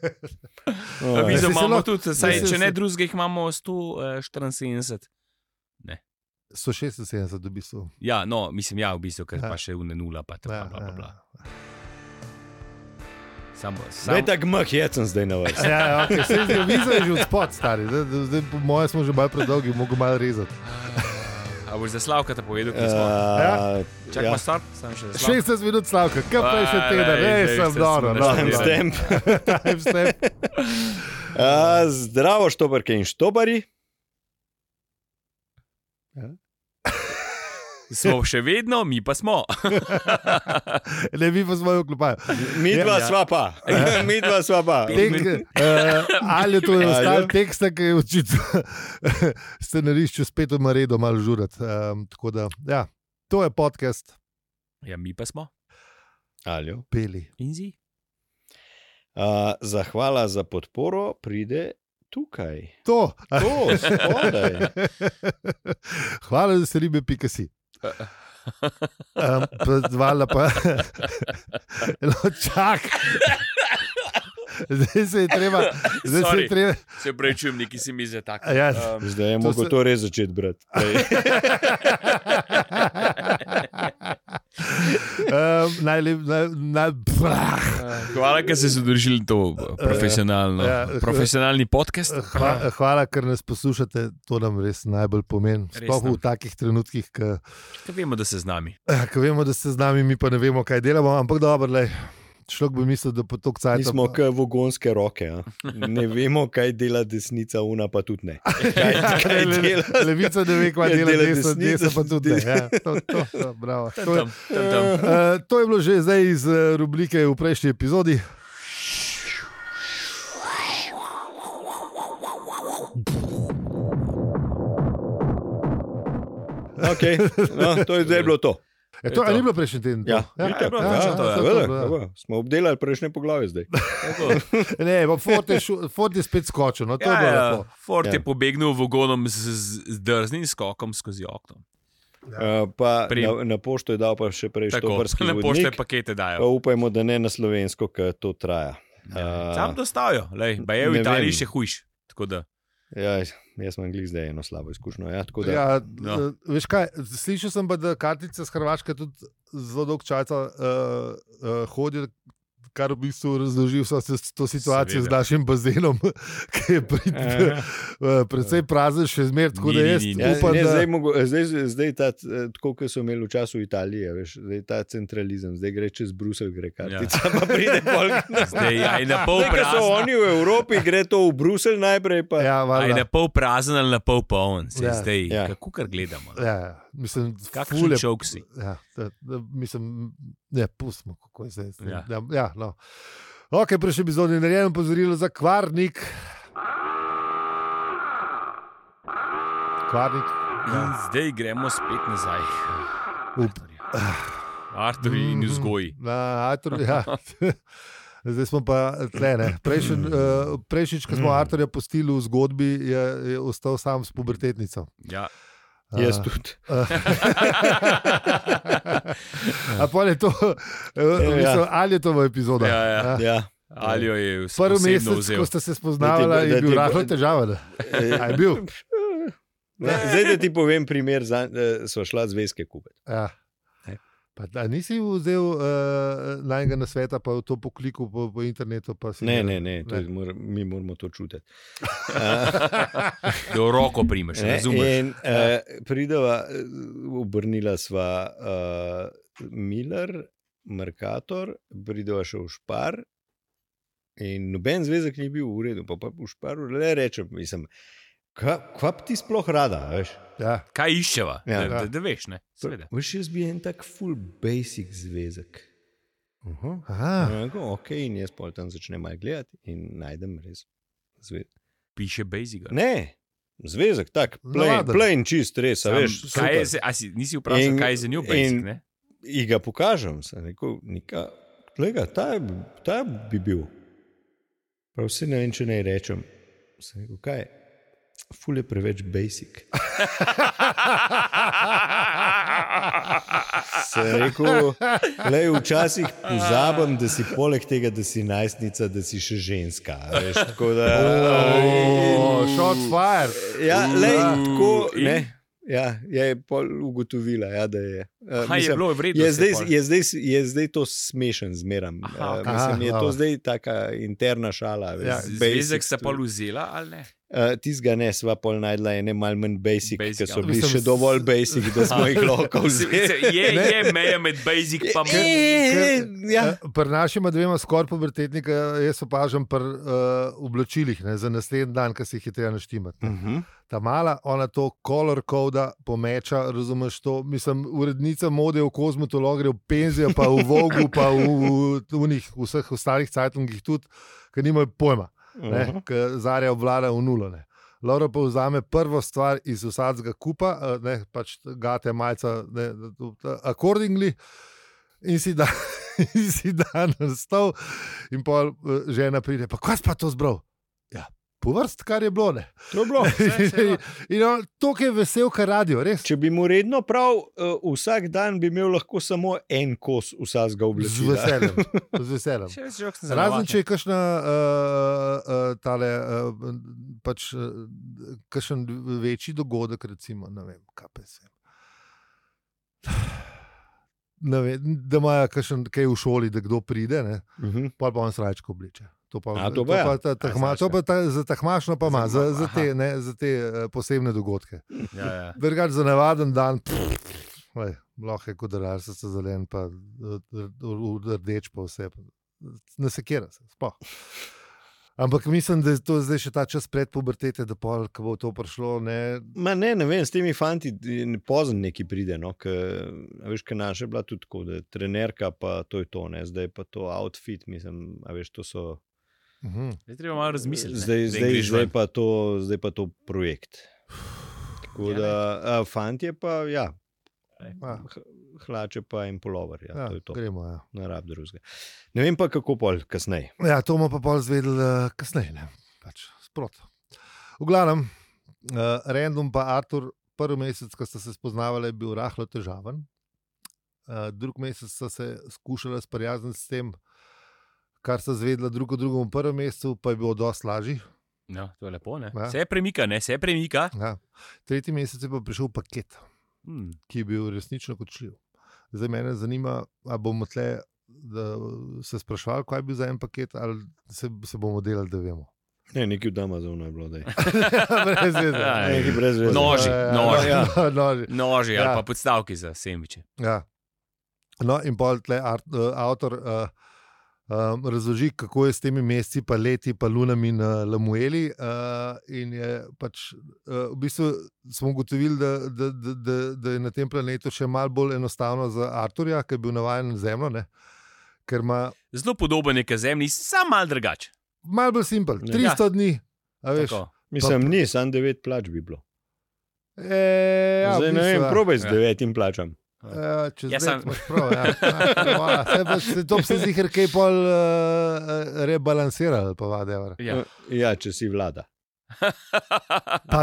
Speaker 2: A
Speaker 1: Ja,
Speaker 2: Mi
Speaker 1: saj se
Speaker 2: imamo
Speaker 1: lahko-
Speaker 2: tudi, saj,
Speaker 1: saj
Speaker 2: če
Speaker 1: se-
Speaker 2: ne drugega, jih imamo eh, 174.
Speaker 1: 176 dobi so.
Speaker 2: Ja, no, mislim, ja, v bistvu, ker
Speaker 1: Ja.
Speaker 2: pa še une nula, pa tako
Speaker 1: Ja,
Speaker 2: naprej.
Speaker 1: ja.
Speaker 2: Samo, samo.
Speaker 3: Sam... Tako mah jecen zdaj na vrsti.
Speaker 1: Ja, ja, okay. Vse je vizo je že od spod, stari. Zdaj, zdaj, po mojem smo že malo predolgi, mogo malo rezati.
Speaker 2: A boš za Slavka to povedal,
Speaker 1: Ja. Eh,
Speaker 2: kaj smo?
Speaker 3: Uh,
Speaker 2: Čakaj, ja. start, sam še za Slavka.
Speaker 1: 60 minut slavka, kaj pa je še tega,
Speaker 2: Aj,
Speaker 1: ne,
Speaker 2: zdaj
Speaker 1: sem
Speaker 2: ste
Speaker 1: dobro. no. dobro,
Speaker 2: smo našli.
Speaker 1: dobro.
Speaker 3: Timestamp.
Speaker 1: Timestamp.
Speaker 3: Uh, zdravo, štobarke in štobari.
Speaker 2: Smo še vedno, mi pa smo.
Speaker 1: Ne, mi pa smo jo klopali.
Speaker 3: Mi dva
Speaker 2: Ja.
Speaker 3: sva pa. Mi dva sva pa.
Speaker 1: Tek, uh, ali to je
Speaker 3: Ja,
Speaker 1: ostal
Speaker 3: ja.
Speaker 1: tekst, ki je očitno scenarišče spet ima redo, malo žurat. Um, tako da, ja, to je podcast,
Speaker 2: Ja, mi pa smo.
Speaker 3: Aljo.
Speaker 1: peli.
Speaker 2: In zi.
Speaker 3: Uh, zahvala za podporo pride tukaj.
Speaker 1: To.
Speaker 3: To, spodaj.
Speaker 1: Hvala za ribe, pika si. Um, Predvala pa. No, čak. Zdaj se je treba. Zdaj se je
Speaker 2: Sorry.
Speaker 1: treba.
Speaker 2: Se pravi, čujem, neki si mi za tak.
Speaker 1: Ja.
Speaker 2: Um,
Speaker 3: Zdaj je
Speaker 1: To
Speaker 3: mogoče
Speaker 1: se-
Speaker 3: to res začeti brati. Ej,
Speaker 1: um, najlep, naj, naj, brah,
Speaker 2: hvala, ker ste se držali to eh, profesionalno.
Speaker 1: Ja.
Speaker 2: Profesionalni podcast.
Speaker 1: hva, hvala, ker nas poslušate, to nam res najbolj pomeni.
Speaker 2: Res
Speaker 1: Sploh v
Speaker 2: nam.
Speaker 1: takih trenutkih, ko
Speaker 2: Kaj vemo, da se z nami.
Speaker 1: ko vemo, da ste z nami, mi pa ne vemo, kaj delamo, ampak dobro, le. Človek bi mislil, da potok
Speaker 3: Mi
Speaker 1: cajt.
Speaker 3: smo kot vogonske roke. A? Ne vemo, kaj dela desnica, una pa tudi ne.
Speaker 1: Ja,
Speaker 3: Kaj, kaj dela?
Speaker 1: Levica ne ve, kaj
Speaker 3: Ja,
Speaker 1: dela,
Speaker 3: dela
Speaker 1: desno,
Speaker 3: desnica,
Speaker 1: desno pa tudi ne.
Speaker 3: desno.
Speaker 1: Ja, to, to, to, bravo.
Speaker 2: Tam,
Speaker 1: to, je,
Speaker 2: tam, tam, tam.
Speaker 1: uh, to je bilo že zdaj iz eh, rubrike v prejšnji epizodi.
Speaker 3: Okay. No, to je zdaj bilo to.
Speaker 1: E, to,
Speaker 2: Je
Speaker 1: a
Speaker 2: to.
Speaker 1: ni bilo prejšnji teden? to?
Speaker 3: Ja,
Speaker 2: je bilo,
Speaker 1: ja,
Speaker 2: ja,
Speaker 1: ja,
Speaker 2: to je,
Speaker 1: to,
Speaker 3: seveda,
Speaker 1: to, to,
Speaker 3: tako, Smo obdelali prejšnje poglavje zdaj.
Speaker 2: Tako.
Speaker 1: Ne, pa Ford je, šu- Ford je spet skočil, no, to je
Speaker 2: Ja,
Speaker 1: bilo
Speaker 2: ja,
Speaker 1: lepo.
Speaker 2: Ford
Speaker 3: Ja.
Speaker 2: je pobegnil vogonom z, z- z drznim skokom skozi okno.
Speaker 3: Uh, pa
Speaker 2: Pri-
Speaker 3: na, na pošto je dal pa še prej
Speaker 2: Tako,
Speaker 3: štobrski
Speaker 2: na pošte
Speaker 3: vodnik.
Speaker 2: pakete
Speaker 3: Pa
Speaker 2: dajo.
Speaker 3: upajmo, da ne na slovensko, ker to traja.
Speaker 2: Ja.
Speaker 3: Eh,
Speaker 2: Sam dostavijo, lej, pa je
Speaker 3: Ne
Speaker 2: v Italiji
Speaker 3: vem.
Speaker 2: še hujš. Tako da,
Speaker 3: Ja, jaz imam glih zdaj eno slabo izkušnjo. Ja, tako da, ja.
Speaker 1: Ja,
Speaker 2: Ja.
Speaker 1: eh, Veš kaj, slišal sem pa, da kartice z Hrvaške tudi zelo dolgo časa uh, uh, hodijo. Kar v bistvu razloži vso se- to situacijo Seveda. z
Speaker 2: Seveda.
Speaker 1: našim bazenom, ki je prid, eh, precej prazen, še zmeraj. Tako da
Speaker 2: Ni, ni,
Speaker 1: jaz
Speaker 2: ni, ni.
Speaker 3: Ja,
Speaker 1: upam,
Speaker 3: ne,
Speaker 1: da
Speaker 3: zdaj, mogo, zdaj, zdaj ta, eh, tako kot so imeli v času Italije, veš, zdaj ta centralizem, zdaj gre čez Bruselj, gre kartica, ja. pa pride pol.
Speaker 2: zdaj ja, je na pol
Speaker 3: Zdaj, ko so
Speaker 2: prazen.
Speaker 3: oni v Evropi, gre to v Bruselj najprej. Pa, ja.
Speaker 1: Ja,
Speaker 2: a Je
Speaker 1: valjda.
Speaker 2: na pol prazen ali na pol poln, se
Speaker 1: Ja.
Speaker 2: ja. zdaj, ja.
Speaker 3: Ja.
Speaker 2: kako kar gledamo.
Speaker 1: ja, ja, mislim, ful
Speaker 2: Kakšen
Speaker 1: je-
Speaker 2: šok si.
Speaker 1: Ja, da, da, mislim, ne, pustimo, kako je zdaj. Ja.
Speaker 2: Ja.
Speaker 1: Ja, ja, no. Ok, prejšnji epizod je narejen, pozorilo za kvarnik. Kvarnik.
Speaker 2: In zdaj gremo spet nazaj.
Speaker 1: Up.
Speaker 2: Artur in vzgoji.
Speaker 1: Mhm. Na Artur, ja. Zdaj smo pa tlene. Prejšen, uh, prejšič, ko smo
Speaker 2: Mhm.
Speaker 1: Arturja pustili v zgodbi, je, je ostal sam s pubertetnico.
Speaker 2: Ja.
Speaker 3: Jaz tudi.
Speaker 1: A pol je to, uh,
Speaker 3: Ja.
Speaker 1: eh, mislim, ali je to v epizodah?
Speaker 2: Ja, ja.
Speaker 3: Ja.
Speaker 2: ali jo je vse
Speaker 1: Prvi
Speaker 2: osebno
Speaker 1: mesec,
Speaker 2: vzel.
Speaker 1: ko ste se spoznavali,
Speaker 3: Da ti bo- da
Speaker 1: je bil
Speaker 3: ti bo- Eh,
Speaker 1: rahlo težaven. A je bil?
Speaker 3: Ne, Zdaj, da ti povem primer, za, eh, sva šla zvezke kupiti.
Speaker 1: Ja.
Speaker 3: Ne.
Speaker 1: Pa, a nisi vzel uh, najmanjega na sveta, pa v to pokliku po, po internetu? pa si
Speaker 3: Ne,
Speaker 1: ga-
Speaker 3: ne, ne, to
Speaker 1: Ne.
Speaker 3: je mora, mi moramo to čutiti.
Speaker 2: Da jo roko primeš,
Speaker 3: Ne,
Speaker 2: razumeš? Ja.
Speaker 3: In, uh, prideva, eh, obrnila sva uh, Miller, Mercator, prideva še v Špar. In noben zvezek ni bil v redu, pa, pa v Šparu le rečem, mislim, kaj ka bi ti sploh rada, a veš?
Speaker 1: Ja.
Speaker 2: Kaj iščeva?
Speaker 3: Ja.
Speaker 2: Ja, da, da, da veš, ne? Seveda.
Speaker 3: Veš, jaz bi en tak full basic zvezek. Uh -huh.
Speaker 1: Aha,
Speaker 3: Enako, ok, in jaz pol tam začnem malo gledati in najdem res zvezek.
Speaker 2: Piše Basic.
Speaker 3: Ne, zvezek, tak, plain,
Speaker 1: Navaden.
Speaker 3: plain čist, res, a veš.
Speaker 2: kaj je,
Speaker 3: super.
Speaker 2: za- a si, nisi vprašal,
Speaker 3: In-
Speaker 2: kaj je za njo Basic?
Speaker 3: in-
Speaker 2: ne?
Speaker 3: in ga pokažem, sem rekel, nika, kolega, ta, je- ta bi bil. Prav vsi ne vem, če naj rečem. Sem rekel, kaj je? Ful je preveč basic. Sem rekel, lej, včasih pozabim, da si poleg tega, da si najstnica, da si še ženska. a Veš, tako da,
Speaker 1: oh, shots fired.
Speaker 3: ja, lej, tako,
Speaker 2: In?
Speaker 3: ne, ja, je pol ugotovila, ja, da je. Eh,
Speaker 2: Aha, je
Speaker 3: mislim,
Speaker 2: bilo vredno.
Speaker 3: Je zdaj, je, zdaj, je zdaj to smešen, zmeraj.
Speaker 2: Aha, ok.
Speaker 1: Aha,
Speaker 3: Mislim, je
Speaker 1: dobro.
Speaker 3: to zdaj taka interna šala.
Speaker 1: Ja,
Speaker 3: Ja,
Speaker 2: Zvezek sta pa luzela, ali ne?
Speaker 3: Tizga ne, sva pol najdla ene malo manj
Speaker 2: Basic,
Speaker 3: basic, basic ki so
Speaker 2: ja.
Speaker 3: bili
Speaker 1: Mislim,
Speaker 3: še
Speaker 1: s-
Speaker 3: dovolj basic, da smo jih lahko
Speaker 2: Se-
Speaker 3: vzeli.
Speaker 2: se- Je, je meja med Basic pa
Speaker 3: Je, je,
Speaker 1: ker-
Speaker 3: je, ja.
Speaker 1: Eh, Pri našima dvema skoraj pubertetnika jaz opažam pri uh, oblačilih ne, za naslednji dan, ki si jih je treba naštimati. ne.
Speaker 3: Mhm.
Speaker 1: Ta mala, ona to color koda pomeča, razumeš to? Mislim, urednica mode v kozmotologiju, v Penziju, pa v Vogu, pa v, v, v njih, vseh ostalih cajtlingih tudi, ki nimajo pojma,
Speaker 3: Mhm.
Speaker 1: uh -huh. zarja obvlada v nulo. Ne. Laura pa vzame prvo stvar iz vsadega kupa, eh, ne, pač gate malce, ne, accordingly, in si da, in si da na stol, in pol eh, žena pride, pa kaj si pa to zbral? Ja, po vrst, kar je bilo, ne.
Speaker 3: To je bilo.
Speaker 2: Vse, vse je bilo.
Speaker 1: In on, to, ki je vesel, kar radio, res.
Speaker 3: Če bi mu redno prav, eh, vsak dan bi imel lahko samo en kos vsega
Speaker 1: Z
Speaker 3: oblačila.
Speaker 1: veseljem. Z veseljem.
Speaker 2: Še več žog sem
Speaker 1: Razen, če je kakšna, uh, uh, tale, uh, pač, uh, kakšen večji dogodek, recimo, ne vem, kaj pa se. Ne vem, da imajo kakšen kaj v šoli, da kdo pride, ne?
Speaker 3: Mhm.
Speaker 1: pol pa on srajčko obliče. To pa,
Speaker 3: A, to
Speaker 1: to
Speaker 3: pa ja.
Speaker 1: pa, ta, tahma, to pa ta, za tahmašno pa ima, za, za te, ne, za te eh, posebne dogodke.
Speaker 2: Ja, ja.
Speaker 1: Drugač za navaden dan, lej, lahko je kot rarsica zelen, pa r- r- rdeč, pa vse. pa Ne sekira se, sploh. Ampak mislim, da je to zdaj še ta čas pred pubertete, da pol, ko bo to prišlo. Ne,
Speaker 3: Ma ne, ne vem, s temi fanti pozno neki pride. No, k, veš, kaj naša je bila tudi tako, da je trenerka, pa to je to, ne, zdaj pa to outfit, mislim, a veš, to so.
Speaker 1: mhm.
Speaker 2: Zdaj treba malo razmisliti. ne,
Speaker 3: Zdaj,
Speaker 2: da
Speaker 3: zdaj,
Speaker 2: greš
Speaker 3: zdaj,
Speaker 2: ven.
Speaker 3: pa to, zdaj pa to projekt. Tako
Speaker 2: Ja,
Speaker 3: da, a, fant je pa, ja,
Speaker 1: a,
Speaker 3: h- hlače pa in polover, ja,
Speaker 1: ja,
Speaker 3: to je to,
Speaker 1: gremo, ja.
Speaker 3: na rab drugega. Ne vem pa, kako pol kasneje.
Speaker 1: ja, to bomo pa pol zvedeli uh, kasneje, ne? pač sprot. V glavnem, uh, random pa Artur, prvi mesec, ko sta se spoznavala, je bil rahlo težaven. Uh, drug mesec sta se skušala sprijazniti s tem, kar sta zvedela drug o drugem v prvem mesecu, pa je bilo dosti lažje.
Speaker 2: No, to je lepo, ne?
Speaker 1: Ja.
Speaker 2: Se premika, ne? Se premika.
Speaker 1: Ja. Tretji mesec je pa prišel paket,
Speaker 2: Hm.
Speaker 1: ki je bil resnično kočljiv. Zdaj me zanima, ali bomo tle, da se sprašvali, kaj je bil za en paket, ali se, se bomo delali, da vemo.
Speaker 3: Ne, nekaj v Damazu je bilo, da je.
Speaker 1: Brez veze.
Speaker 2: Ja,
Speaker 1: Ne.
Speaker 3: Nekaj brez veze.
Speaker 2: Noži,
Speaker 1: Ja,
Speaker 2: noži.
Speaker 1: Ja, ja, noži.
Speaker 2: Noži ali
Speaker 1: Ja.
Speaker 2: pa podstavki za semiče.
Speaker 1: Ja. No, in pol tle art, uh, avtor uh, um, razloži, kako je s temi meseci, pa leti, pa lunami na Lamueli. Uh, in je pač, uh, v bistvu smo ugotovili, da, da, da, da, da je na tem planetu še malo bolj enostavno za Arturja, ki je bil navaden na Zemljo, ne? ker ima
Speaker 2: Zelo podoben je k zemlji, samo malo drugače.
Speaker 1: malo bolj simpel,
Speaker 3: Ja.
Speaker 1: 300 dni. A veš?
Speaker 2: Tako.
Speaker 3: Mislim, ni, sam devet plač bi bilo.
Speaker 1: E, ja,
Speaker 3: Ja,
Speaker 1: v
Speaker 3: zdaj, ne
Speaker 1: bistvu,
Speaker 3: vem,
Speaker 1: ja.
Speaker 3: probaj z
Speaker 2: Ja.
Speaker 3: devetim plačam.
Speaker 1: Ja, če
Speaker 2: Ja,
Speaker 1: ja, zdaj
Speaker 2: sam-
Speaker 1: imaš prav, ja. Ja, hvala. Saj pa se to se zdi, eh, ker je pol uh, rebalansiralo, eh, pa vade.
Speaker 2: Ja.
Speaker 3: Ja, če si vlada.
Speaker 1: Pa,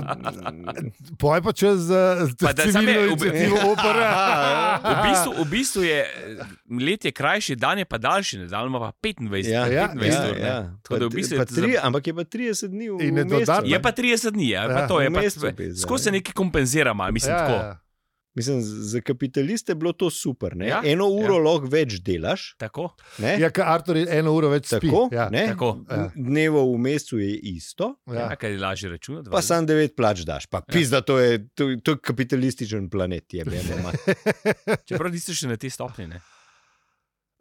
Speaker 1: poj pa čez uh,
Speaker 2: Pa da samo je
Speaker 1: civilno
Speaker 2: ob- ja.
Speaker 1: inicijativo opera.
Speaker 2: V bistvu, v bistvu je eh, let je krajši, dan je pa daljši, ne dan ima pa 25,
Speaker 3: Ja,
Speaker 1: ja,
Speaker 2: 25 ur. ne. Tako da v
Speaker 3: Pa-
Speaker 2: bistvu
Speaker 3: pa
Speaker 2: je za-
Speaker 3: tri, ampak je pa 30 dni v
Speaker 1: In je
Speaker 3: mesecu,
Speaker 1: dodatno-
Speaker 3: ne.
Speaker 2: Je pa 30 dni, ja, pa
Speaker 1: Ja,
Speaker 2: to je
Speaker 3: v
Speaker 2: pa
Speaker 3: mesecu bi zdaj.
Speaker 2: Skozi se nekaj kompenzira, malo, mislim
Speaker 1: ja,
Speaker 2: tako.
Speaker 1: ja.
Speaker 3: Mislim, za kapitaliste je bilo to super. Ne?
Speaker 2: Ja,
Speaker 3: Ja, Eno uro ja. lahko več delaš.
Speaker 2: Tako,
Speaker 3: Ne?
Speaker 1: Ja, ker Artur je eno uro več spi.
Speaker 3: Tako,
Speaker 1: ja.
Speaker 3: ne?
Speaker 2: tako.
Speaker 1: Ja.
Speaker 3: Dnevo v mesecu je isto,
Speaker 2: Ja.
Speaker 1: Ja.
Speaker 2: Kaj je lažje računati?
Speaker 3: pa sam devet plač daš. Pa
Speaker 2: Ja.
Speaker 3: pizda, to je, to, to je kapitalističen planet. Je,
Speaker 2: Čeprav niste še na te stopnje. ne.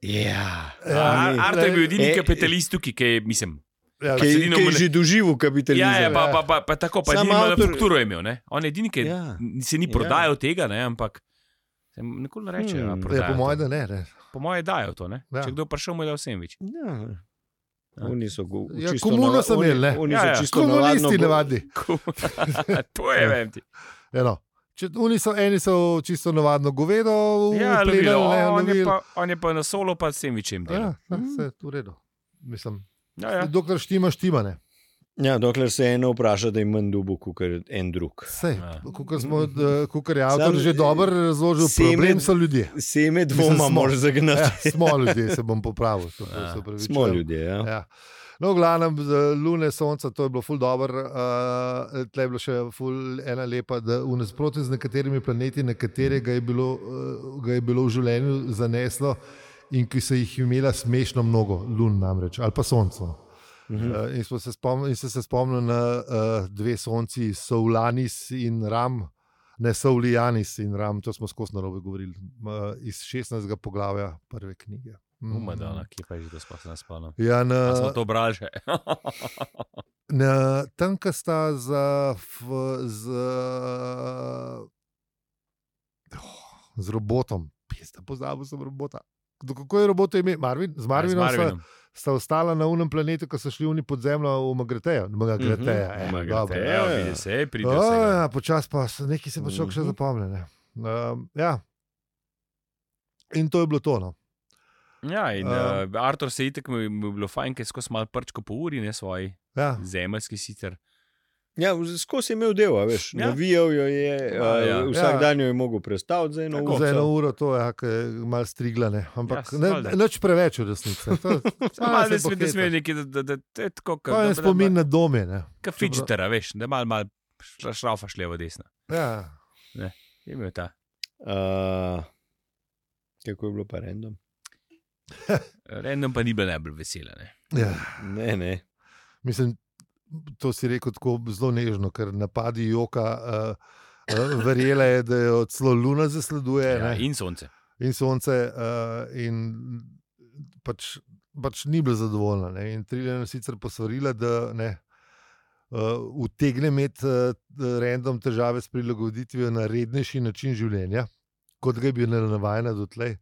Speaker 3: ja,
Speaker 1: Ja,
Speaker 2: Ar-
Speaker 1: ni.
Speaker 2: Arto je bil edini
Speaker 3: E,
Speaker 2: kapitalist tukaj, ki je, mislim.
Speaker 1: Ja,
Speaker 3: ki,
Speaker 2: sedino
Speaker 3: ki
Speaker 2: mu
Speaker 3: je
Speaker 2: ne-
Speaker 3: že doživel kapitalizem.
Speaker 2: Ja, ja, pa, pa, pa, pa tako, pa
Speaker 3: Sam
Speaker 2: edini avtor...
Speaker 3: avtor-
Speaker 2: strukturo je imel. Ne? On je edini, ki ja.
Speaker 3: Ja.
Speaker 2: se ni
Speaker 3: Ja.
Speaker 2: prodajal ja. tega, ne? ampak se mu nikoli ne reče.
Speaker 3: Hmm.
Speaker 2: Hmm.
Speaker 3: Ja,
Speaker 1: Ja, po mojem, da ne. ne.
Speaker 2: po moje dajo to. Ne? Ja.
Speaker 1: Ja.
Speaker 2: Če kdo prišel, mu je dal sem več. Ja.
Speaker 3: Ja. Oni so go,
Speaker 1: Ja,
Speaker 3: čisto
Speaker 1: komuno
Speaker 3: nava-
Speaker 1: so
Speaker 3: oni-
Speaker 1: imeli, ne.
Speaker 3: Oni
Speaker 2: Ja,
Speaker 3: so
Speaker 2: ja.
Speaker 3: čisto
Speaker 1: Komunisti
Speaker 3: navadno-
Speaker 1: nevadni.
Speaker 2: to
Speaker 1: Ja.
Speaker 2: je, vem ti.
Speaker 1: Eno. Če, oni so, eni so čisto navadno govedo,
Speaker 2: Ja, lovil,
Speaker 1: upredali, ne,
Speaker 2: on, je
Speaker 1: lovili.
Speaker 2: pa, on je pa na solo, pa sem večem delal.
Speaker 1: Ja, ja, vse je v redu. Mislim,
Speaker 2: Ja, ja.
Speaker 1: ja. Dokler štima, štima. Ne.
Speaker 3: Ja, dokler se eno vpraša, da je manj dubok kot en drug.
Speaker 1: Sej,
Speaker 2: Ja.
Speaker 1: kukor, smo, eh, kukor je avtor
Speaker 3: Sam, eh,
Speaker 1: že dobro razložil,
Speaker 3: semen-
Speaker 1: problem so ljudje.
Speaker 3: Seme
Speaker 1: Mislim,
Speaker 3: dvoma
Speaker 1: smo-
Speaker 3: moraš zagnati.
Speaker 1: Ja,
Speaker 3: Ja,
Speaker 1: smo ljudje, se bom popravil. Se,
Speaker 2: Ja.
Speaker 1: se opravičujem.
Speaker 3: smo ljudje. Ja.
Speaker 1: Ja. No, v glavnem, z lune, sonca, to je bilo ful dobro. Uh, tle je bilo še ful ena lepa, da v nasprotju z nekaterimi planeti, na katerega je bilo, uh, ga je bilo v življenju zaneslo in ki se jih je imela smešno mnogo, lun namreč, ali pa sonce.
Speaker 3: Mhm.
Speaker 1: Uh, in, smo se spomnil, in sem se spomnil na uh, dve sonci, Soulanis in Ram, ne Soulianis in Ram, to smo skozi narobe govorili, uh, iz 16. poglavja prve knjige. Mm.
Speaker 2: Umadana, ki pa je že to sploh ne spalo.
Speaker 1: Ja,
Speaker 2: A
Speaker 1: na,
Speaker 2: Smo to brali že.
Speaker 1: Na, tam, ki sta za, f, z, oh, z robotom, pesta, pozabil sem robota. Do kako je robot ime? Marvin? Z Marvinom,
Speaker 2: Z Marvinom.
Speaker 1: Sta, sta ostala na unem planetu, ko so šli oni pod zemljo v Magrateju. Magrateja, mm -hmm. eh, dobro.
Speaker 2: Magrate,
Speaker 3: Ja,
Speaker 2: ja,
Speaker 3: ja.
Speaker 2: vidi se, pride
Speaker 1: O,
Speaker 2: vse.
Speaker 1: ja, Počasi pa se- nekaj se bo človek še
Speaker 3: Mhm.
Speaker 1: zapomnil. Um, ja. In to je bilo to. No.
Speaker 2: Ja, in
Speaker 1: Um.
Speaker 2: um, uh, Artur se je itek, mu je mu je bilo fajn, ker je skozi malo prčko po uri, ne svoji,
Speaker 1: Ja.
Speaker 2: zemeljski sicer.
Speaker 1: Eh.
Speaker 3: Ja, v- skozi je imel del, a veš.
Speaker 2: Ja.
Speaker 3: Ja. Navijal jo je,
Speaker 2: Ja,
Speaker 3: ja,
Speaker 2: ja.
Speaker 3: ja. vsak
Speaker 1: Ja.
Speaker 3: ja. dan jo je mogel prestaviti za eno
Speaker 2: Tako.
Speaker 1: Za eno
Speaker 3: uro.
Speaker 1: uro to je, ki je malo striglane, ampak ja,
Speaker 2: Ja,
Speaker 1: ne,
Speaker 2: valjda.
Speaker 1: nič preveč v resnici. ja, To-
Speaker 2: Samo
Speaker 1: malo
Speaker 2: malo
Speaker 1: se
Speaker 2: ne sme- ne
Speaker 1: pohecam.
Speaker 2: sme neki, da- da- da- to je tako,
Speaker 1: To je spomin na dome. Ne?
Speaker 2: Kot fidžetera, veš, da malo mal šrafaš levo, desno.
Speaker 1: Ja.
Speaker 2: Je imel ta.
Speaker 3: Uh, kako je bilo pa random?
Speaker 2: Random pa ni bil najbolj vesela. Ne?
Speaker 1: Ja.
Speaker 3: Ne, ne.
Speaker 1: Mislim, to si rekel tako zelo nežno, ker napadi joka. Uh, uh, verjela je, da jo celo luna zasleduje
Speaker 2: Ja,
Speaker 1: ja, in...
Speaker 2: in sonce.
Speaker 1: in sonce, uh, in pač, pač ni bila zadovoljna. Ne? In Triljan je sicer posvarila, da ne. Uh, utegne imeti uh, random težave s prilagoditvijo na rednejši način življenja, kot ga je bila navajena dotlej.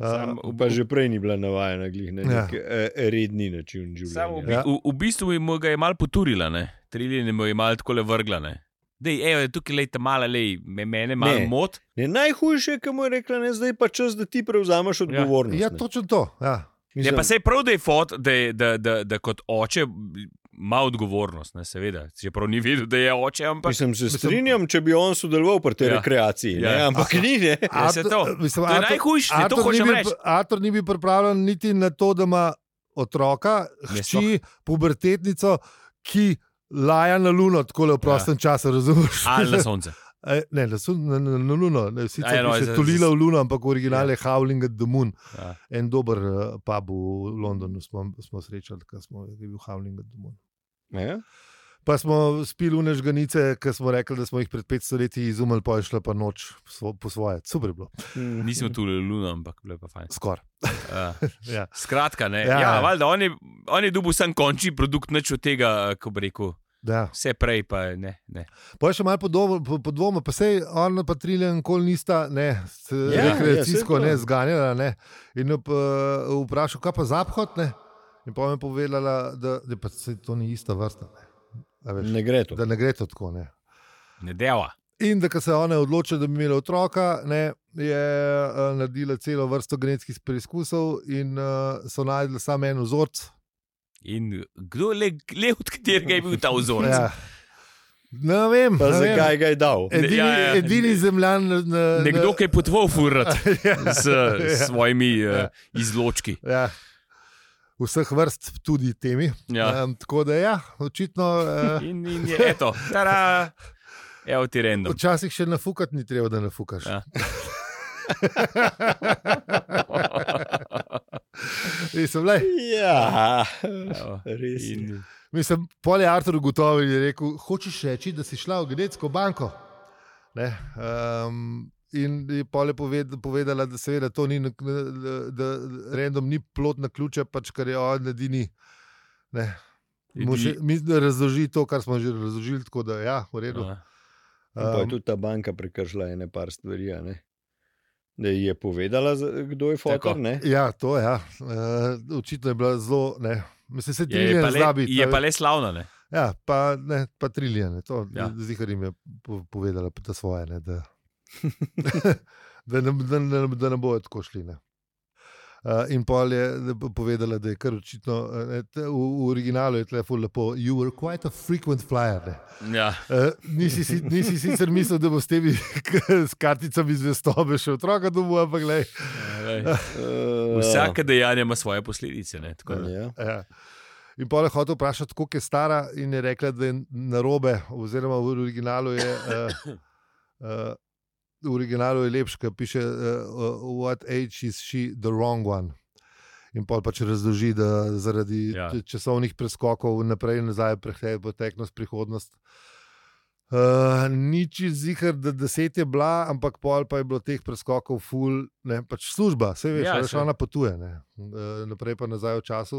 Speaker 2: Sam-
Speaker 1: Uh,
Speaker 3: Pa že prej ni bila navajena glih na
Speaker 1: Ja.
Speaker 3: nek ja. redni način
Speaker 2: Samo
Speaker 3: življenja.
Speaker 2: v, bi-
Speaker 1: Ja.
Speaker 2: v, v bistvu mu ga je malo poturila, ne? triljen mu je malo tako le vrgla. Ne? Dej, evo, tukaj je ta mala, lej, me, mene malo
Speaker 3: Ne.
Speaker 2: mot.
Speaker 3: Ne, najhujše je, kam je rekla, ne, zdaj je pa čas, da ti prevzameš odgovornost.
Speaker 1: ja,
Speaker 3: ne.
Speaker 1: točno to. Ja.
Speaker 2: Ne,
Speaker 3: Mislim,
Speaker 2: pa se je prav, da je fot, da, je, da, da, da kot oče ima odgovornost, ne, seveda. Čeprav ni vedel, da je oče, ampak
Speaker 3: Mislim, se
Speaker 1: Mislim-
Speaker 3: strinjam, če bi on sodeloval pri tej
Speaker 2: Ja.
Speaker 3: ja. rekreaciji,
Speaker 2: Ja.
Speaker 3: ja. ampak ni, ne.
Speaker 2: Ja, saj to.
Speaker 1: mislim,
Speaker 2: to je
Speaker 1: Artur-
Speaker 2: najhujše, ne, to
Speaker 1: Artur ni
Speaker 2: hočem
Speaker 1: bil-
Speaker 2: reči.
Speaker 1: Artur ni bil pripravljen niti na to, da ima otroka,
Speaker 2: Ne,
Speaker 1: hči, pubertetnico, ki laja na luno, tako le v prostem ja. času, razumiš?
Speaker 2: Ali na sonce.
Speaker 1: E, ne, na, sun, na, na, na luno, ne, sicer
Speaker 2: Aj, no, Ja.
Speaker 1: je
Speaker 2: z- z-
Speaker 1: tulila v luno, ampak original je Howling at the Moon.
Speaker 2: Ja.
Speaker 1: En dober uh, pub v Londonu smo, smo srečali, ker smo je bil Howling at the Moon.
Speaker 3: Ja.
Speaker 1: Pa smo spili unežganice, ker smo rekli, da smo jih pred 500 leti izumili, pa je šla pa noč svo- po svoje. Super je bilo,
Speaker 2: Nismo tu le luno, ampak bilo je pa fajn.
Speaker 1: skoraj.
Speaker 2: Ja.
Speaker 1: Ja.
Speaker 2: Skratka, ne.
Speaker 1: Ja.
Speaker 2: Ja, ja valjda, on je, on je dubu sam končni produkt, nič od tega, ko bi rekel.
Speaker 1: Da.
Speaker 2: Vse prej pa ne. ne.
Speaker 1: Pa je še malo podvoma, po, po dvomu, pa se on pa triljen nikoli nista, ne, s-
Speaker 3: Ja,
Speaker 1: rekreacijsko
Speaker 3: ja, saj to.
Speaker 1: ne zganjala. Ne. In jo pa vprašal, kaj pa zaphod, ne. In pa mi je povedala, da, da pa se to ni ista vrsta. Ne. A Veš,
Speaker 3: Ne gre to.
Speaker 1: da ne gre to tako. Ne.
Speaker 2: Ne dela.
Speaker 1: In da ko se je ona odločila, da bi imela otroka, ne, je eh, eh, naredila celo vrsto genetskih preizkusov in uh, so najdli samo en vzorec,
Speaker 2: In kdo le, le od katerega je bil ta vzorec?
Speaker 1: Ja. Ne vem.
Speaker 3: Pa
Speaker 1: ne vem. E-
Speaker 3: zakaj ga je dal?
Speaker 1: Edini,
Speaker 2: Ja, ja.
Speaker 1: edini zemljan na, na,
Speaker 2: Nekdo, ki je potoval furat
Speaker 1: ja,
Speaker 2: s s svojimi uh, izločki.
Speaker 1: ja. Vseh vrst, tudi temi.
Speaker 2: Ja.
Speaker 1: Um, tako da, ja, očitno, uh,
Speaker 2: In, in je eto, tara, evo ti rendo.
Speaker 1: včasih še nafukati ni treba, da nafukaš.
Speaker 2: Ja.
Speaker 1: Ja. Mislim, lej,
Speaker 3: Ja, res. je.
Speaker 2: In,
Speaker 1: mislim, pol je Artur gotovo in je rekel: Hočeš reči, da si šla v Genetsko banko? Ne, um, in je pol je poved, povedala, da seveda to ni, na- da- da random ni plot na ključe, pač kar je on edini. Ne. Mu še-
Speaker 2: Edini-
Speaker 1: Mi razloži to, kar smo že razložili, tako da ja, v redu.
Speaker 2: a,
Speaker 3: In pa je
Speaker 1: Um,
Speaker 3: tudi ta banka prekršila ene par stvari. a Ne? Da ji je povedala, za- kdo je
Speaker 2: Tako.
Speaker 3: fotor. ne?
Speaker 1: ja, to je. Ja. Uh, očitno je bila zelo, ne, mislim, se
Speaker 2: Je, je,
Speaker 1: triljen
Speaker 2: pa
Speaker 1: zna
Speaker 2: le,
Speaker 1: biti.
Speaker 2: je
Speaker 1: ne.
Speaker 2: pa le slavna. Ne?
Speaker 1: Ja, pa, ne, pa triljen, to ja.
Speaker 2: Ja.
Speaker 1: zihar jim je po- povedala ta svoje, ne, da, da, ne, da, ne, da ne bojo tako šli. Ne. Uh, in pol je da bo povedala, da je kar očitno, eh, ne, te- v, v originalu je telefon lepo, you were quite a frequent flyer. Ne.
Speaker 2: Ja.
Speaker 1: Eh, nisi, si, nisi sicer mislil, da bo s temi s karticami zvestobe še otroka domov, ampak le.
Speaker 2: lej.
Speaker 3: Eh,
Speaker 2: Vsake dejanje ima svoje posledice. Ne? Tako da-
Speaker 3: Ja.
Speaker 1: Ja. In pa je hotel vprašati, koliko je stara, in je rekla, da je narobe, oziroma v originalu je. Uh, uh, V originalu je lepš, ki piše, uh, what age is she the wrong one. In pol pač razloži, da zaradi ja.
Speaker 2: Ja.
Speaker 1: časovnih preskokov naprej in nazaj prehaja preteklost, prihodnost. Uh, ni čez zihar, da deset je bila, ampak pol pa je bilo teh preskokov, ful, ne, pač služba, vse veš,
Speaker 2: Ja,
Speaker 1: ja, veš
Speaker 2: saj.
Speaker 1: ona potuje, ne, uh, naprej pa nazaj v času.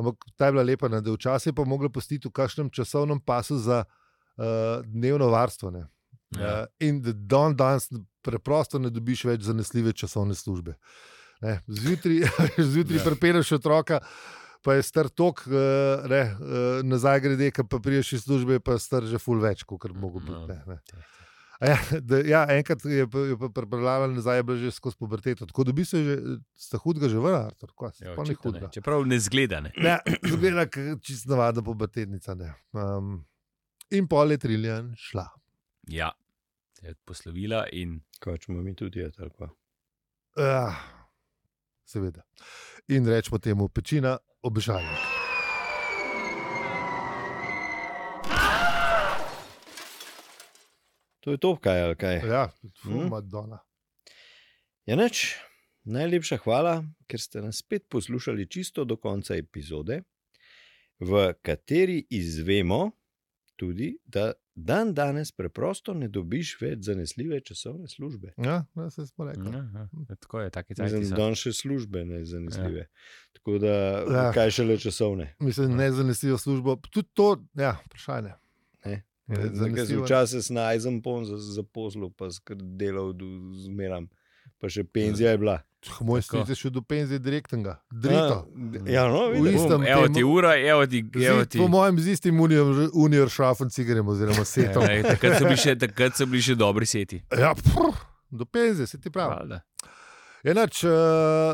Speaker 1: Ampak ta je bila lepa, ne, da včasih je pa mogla postiti v kakšnem časovnem pasu za uh, dnevno varstvo. Ne.
Speaker 2: Ja.
Speaker 1: Uh, in da dan danes preprosto ne dobiš več zanesljive časovne službe. Ne, zjutraj zjutraj
Speaker 2: Ja.
Speaker 1: ja. pripeleš otroka, pa je star tok, uh, ne, uh, nazaj grede, ki pa priješ iz službe, je pa je star že ful več, kot mogo biti.
Speaker 2: No.
Speaker 1: Ne, ne. A Ja, da, ja, enkrat je pa- jo pa pripeljala nazaj, je bila že skozi puberteto. Tako da bi se že, sta hudega že vrnila, Artur, kaj se
Speaker 2: Ja,
Speaker 1: pa ni
Speaker 2: očitno ne.
Speaker 1: hudega.
Speaker 2: Čeprav ne zgleda. Ne?
Speaker 1: Ja, zgleda, kot čisto navadna pubertetnica. ne. Um, in pol je triljan šla.
Speaker 2: Ja, se je poslovila in
Speaker 3: Kaj ćemo mi tudi je tako.
Speaker 1: Uh, seveda. In rečemo temu pečina obežalnik.
Speaker 3: To je to, kaj je. Kaj?
Speaker 1: Ja, tfu,
Speaker 3: Mm.
Speaker 1: Madonna.
Speaker 3: Ja, neč, najlepša hvala, ker ste nas spet poslušali čisto do konca epizode, v kateri izvemo tudi, da dan danes preprosto ne dobiš več zanesljive časovne službe.
Speaker 1: Ja, ja, saj smo rekli.
Speaker 2: ja, ja, tako je, taki cajt.
Speaker 3: Mislim, da danes še službe ne zanesljive. Ja. Tako da,
Speaker 1: Ja.
Speaker 3: ja. kaj šele časovne.
Speaker 1: Mislim, ne zanesljivo službo. Tudi to, ja, vprašanje.
Speaker 3: Ne.
Speaker 1: Je Ja, zanesljivo, ne?
Speaker 3: Včasih se najdem pon za, za poslu, pa skrb delal do zmeram, pa še penzija je bila.
Speaker 1: Tch, Moj
Speaker 2: Tako.
Speaker 1: stric je šel do penzije direktnega, drito.
Speaker 3: A, Ja, no,
Speaker 1: V
Speaker 3: vidiš.
Speaker 1: istem
Speaker 2: Evo
Speaker 1: temu-
Speaker 2: ti ura, evo ti, evo
Speaker 1: Zid,
Speaker 2: ti.
Speaker 1: po mojem, z istim unijo- unijo šrafom cigarjem oziroma setom.
Speaker 3: Ja,
Speaker 2: Ej, Takrat so bili še, takrat so bili še dobri seti.
Speaker 1: Ja, prr, do penzije, se ti pravi.
Speaker 2: Valjda.
Speaker 1: Enač, uh,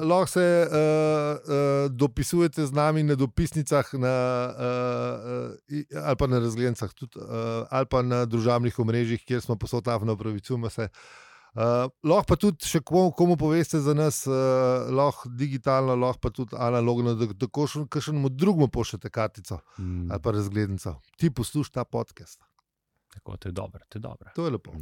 Speaker 1: lahko se uh, uh, dopisujete z nami na dopisnicah na, uh, uh, ali pa na razglednicah, tudi, uh, ali pa na družabnih omrežjih, kjer smo posod afno, upravičujemo se. Uh, lahko pa tudi še komu, komu poveste za nas, uh, lahko digitalno, lahko pa tudi analogno, da tako še kakšnemu drugemu pošljete kartico
Speaker 2: Mm,
Speaker 1: ali pa razglednico. Ti poslušaj ta podcast.
Speaker 2: Tako, to je dobro, to je dobro.
Speaker 1: To je lepo.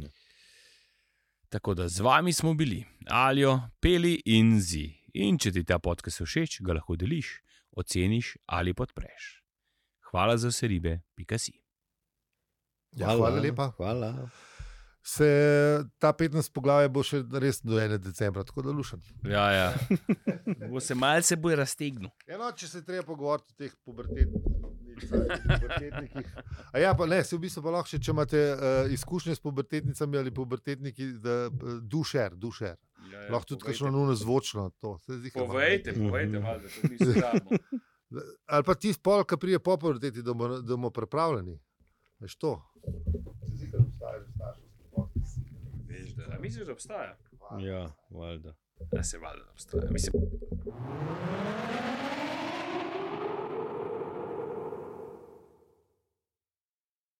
Speaker 2: Tako da z vami smo bili, alijo, peli in zi. In če ti ta podcast všeč, ga lahko deliš, oceniš ali podpreš. Hvala za vse ribe, pika si.
Speaker 1: Ja, hvala lepa.
Speaker 3: Hvala.
Speaker 1: Se ta 15 poglavje bo še res do 1. decembra, tako da lušam.
Speaker 2: Ja, ja. Bo se malce bolj raztegnil.
Speaker 1: Eno, Ja, no, če se je treba pogovoriti o teh pubertetnicah, pubertetnikih. A ja, pa ne, se v bistvu pa lahko še, če imate uh, izkušnje s pubertetnicami ali pubertetniki, da uh, dušer, dušer.
Speaker 2: Ja,
Speaker 1: Ja, lahko tudi kakšno nuno zvočno. To, se zdi, kaj ima.
Speaker 3: povejte, Mhm.
Speaker 2: da to ni stvarno.
Speaker 1: ali pa ti spol, ki prije po puberteti, da bomo- da bomo pripravljeni. Veš to? Se zdi, da obstaja že starševski podcast.
Speaker 2: Misliš, da obstaja?
Speaker 3: Ja, valjda.
Speaker 2: Da se valjda obstaja. Mislim,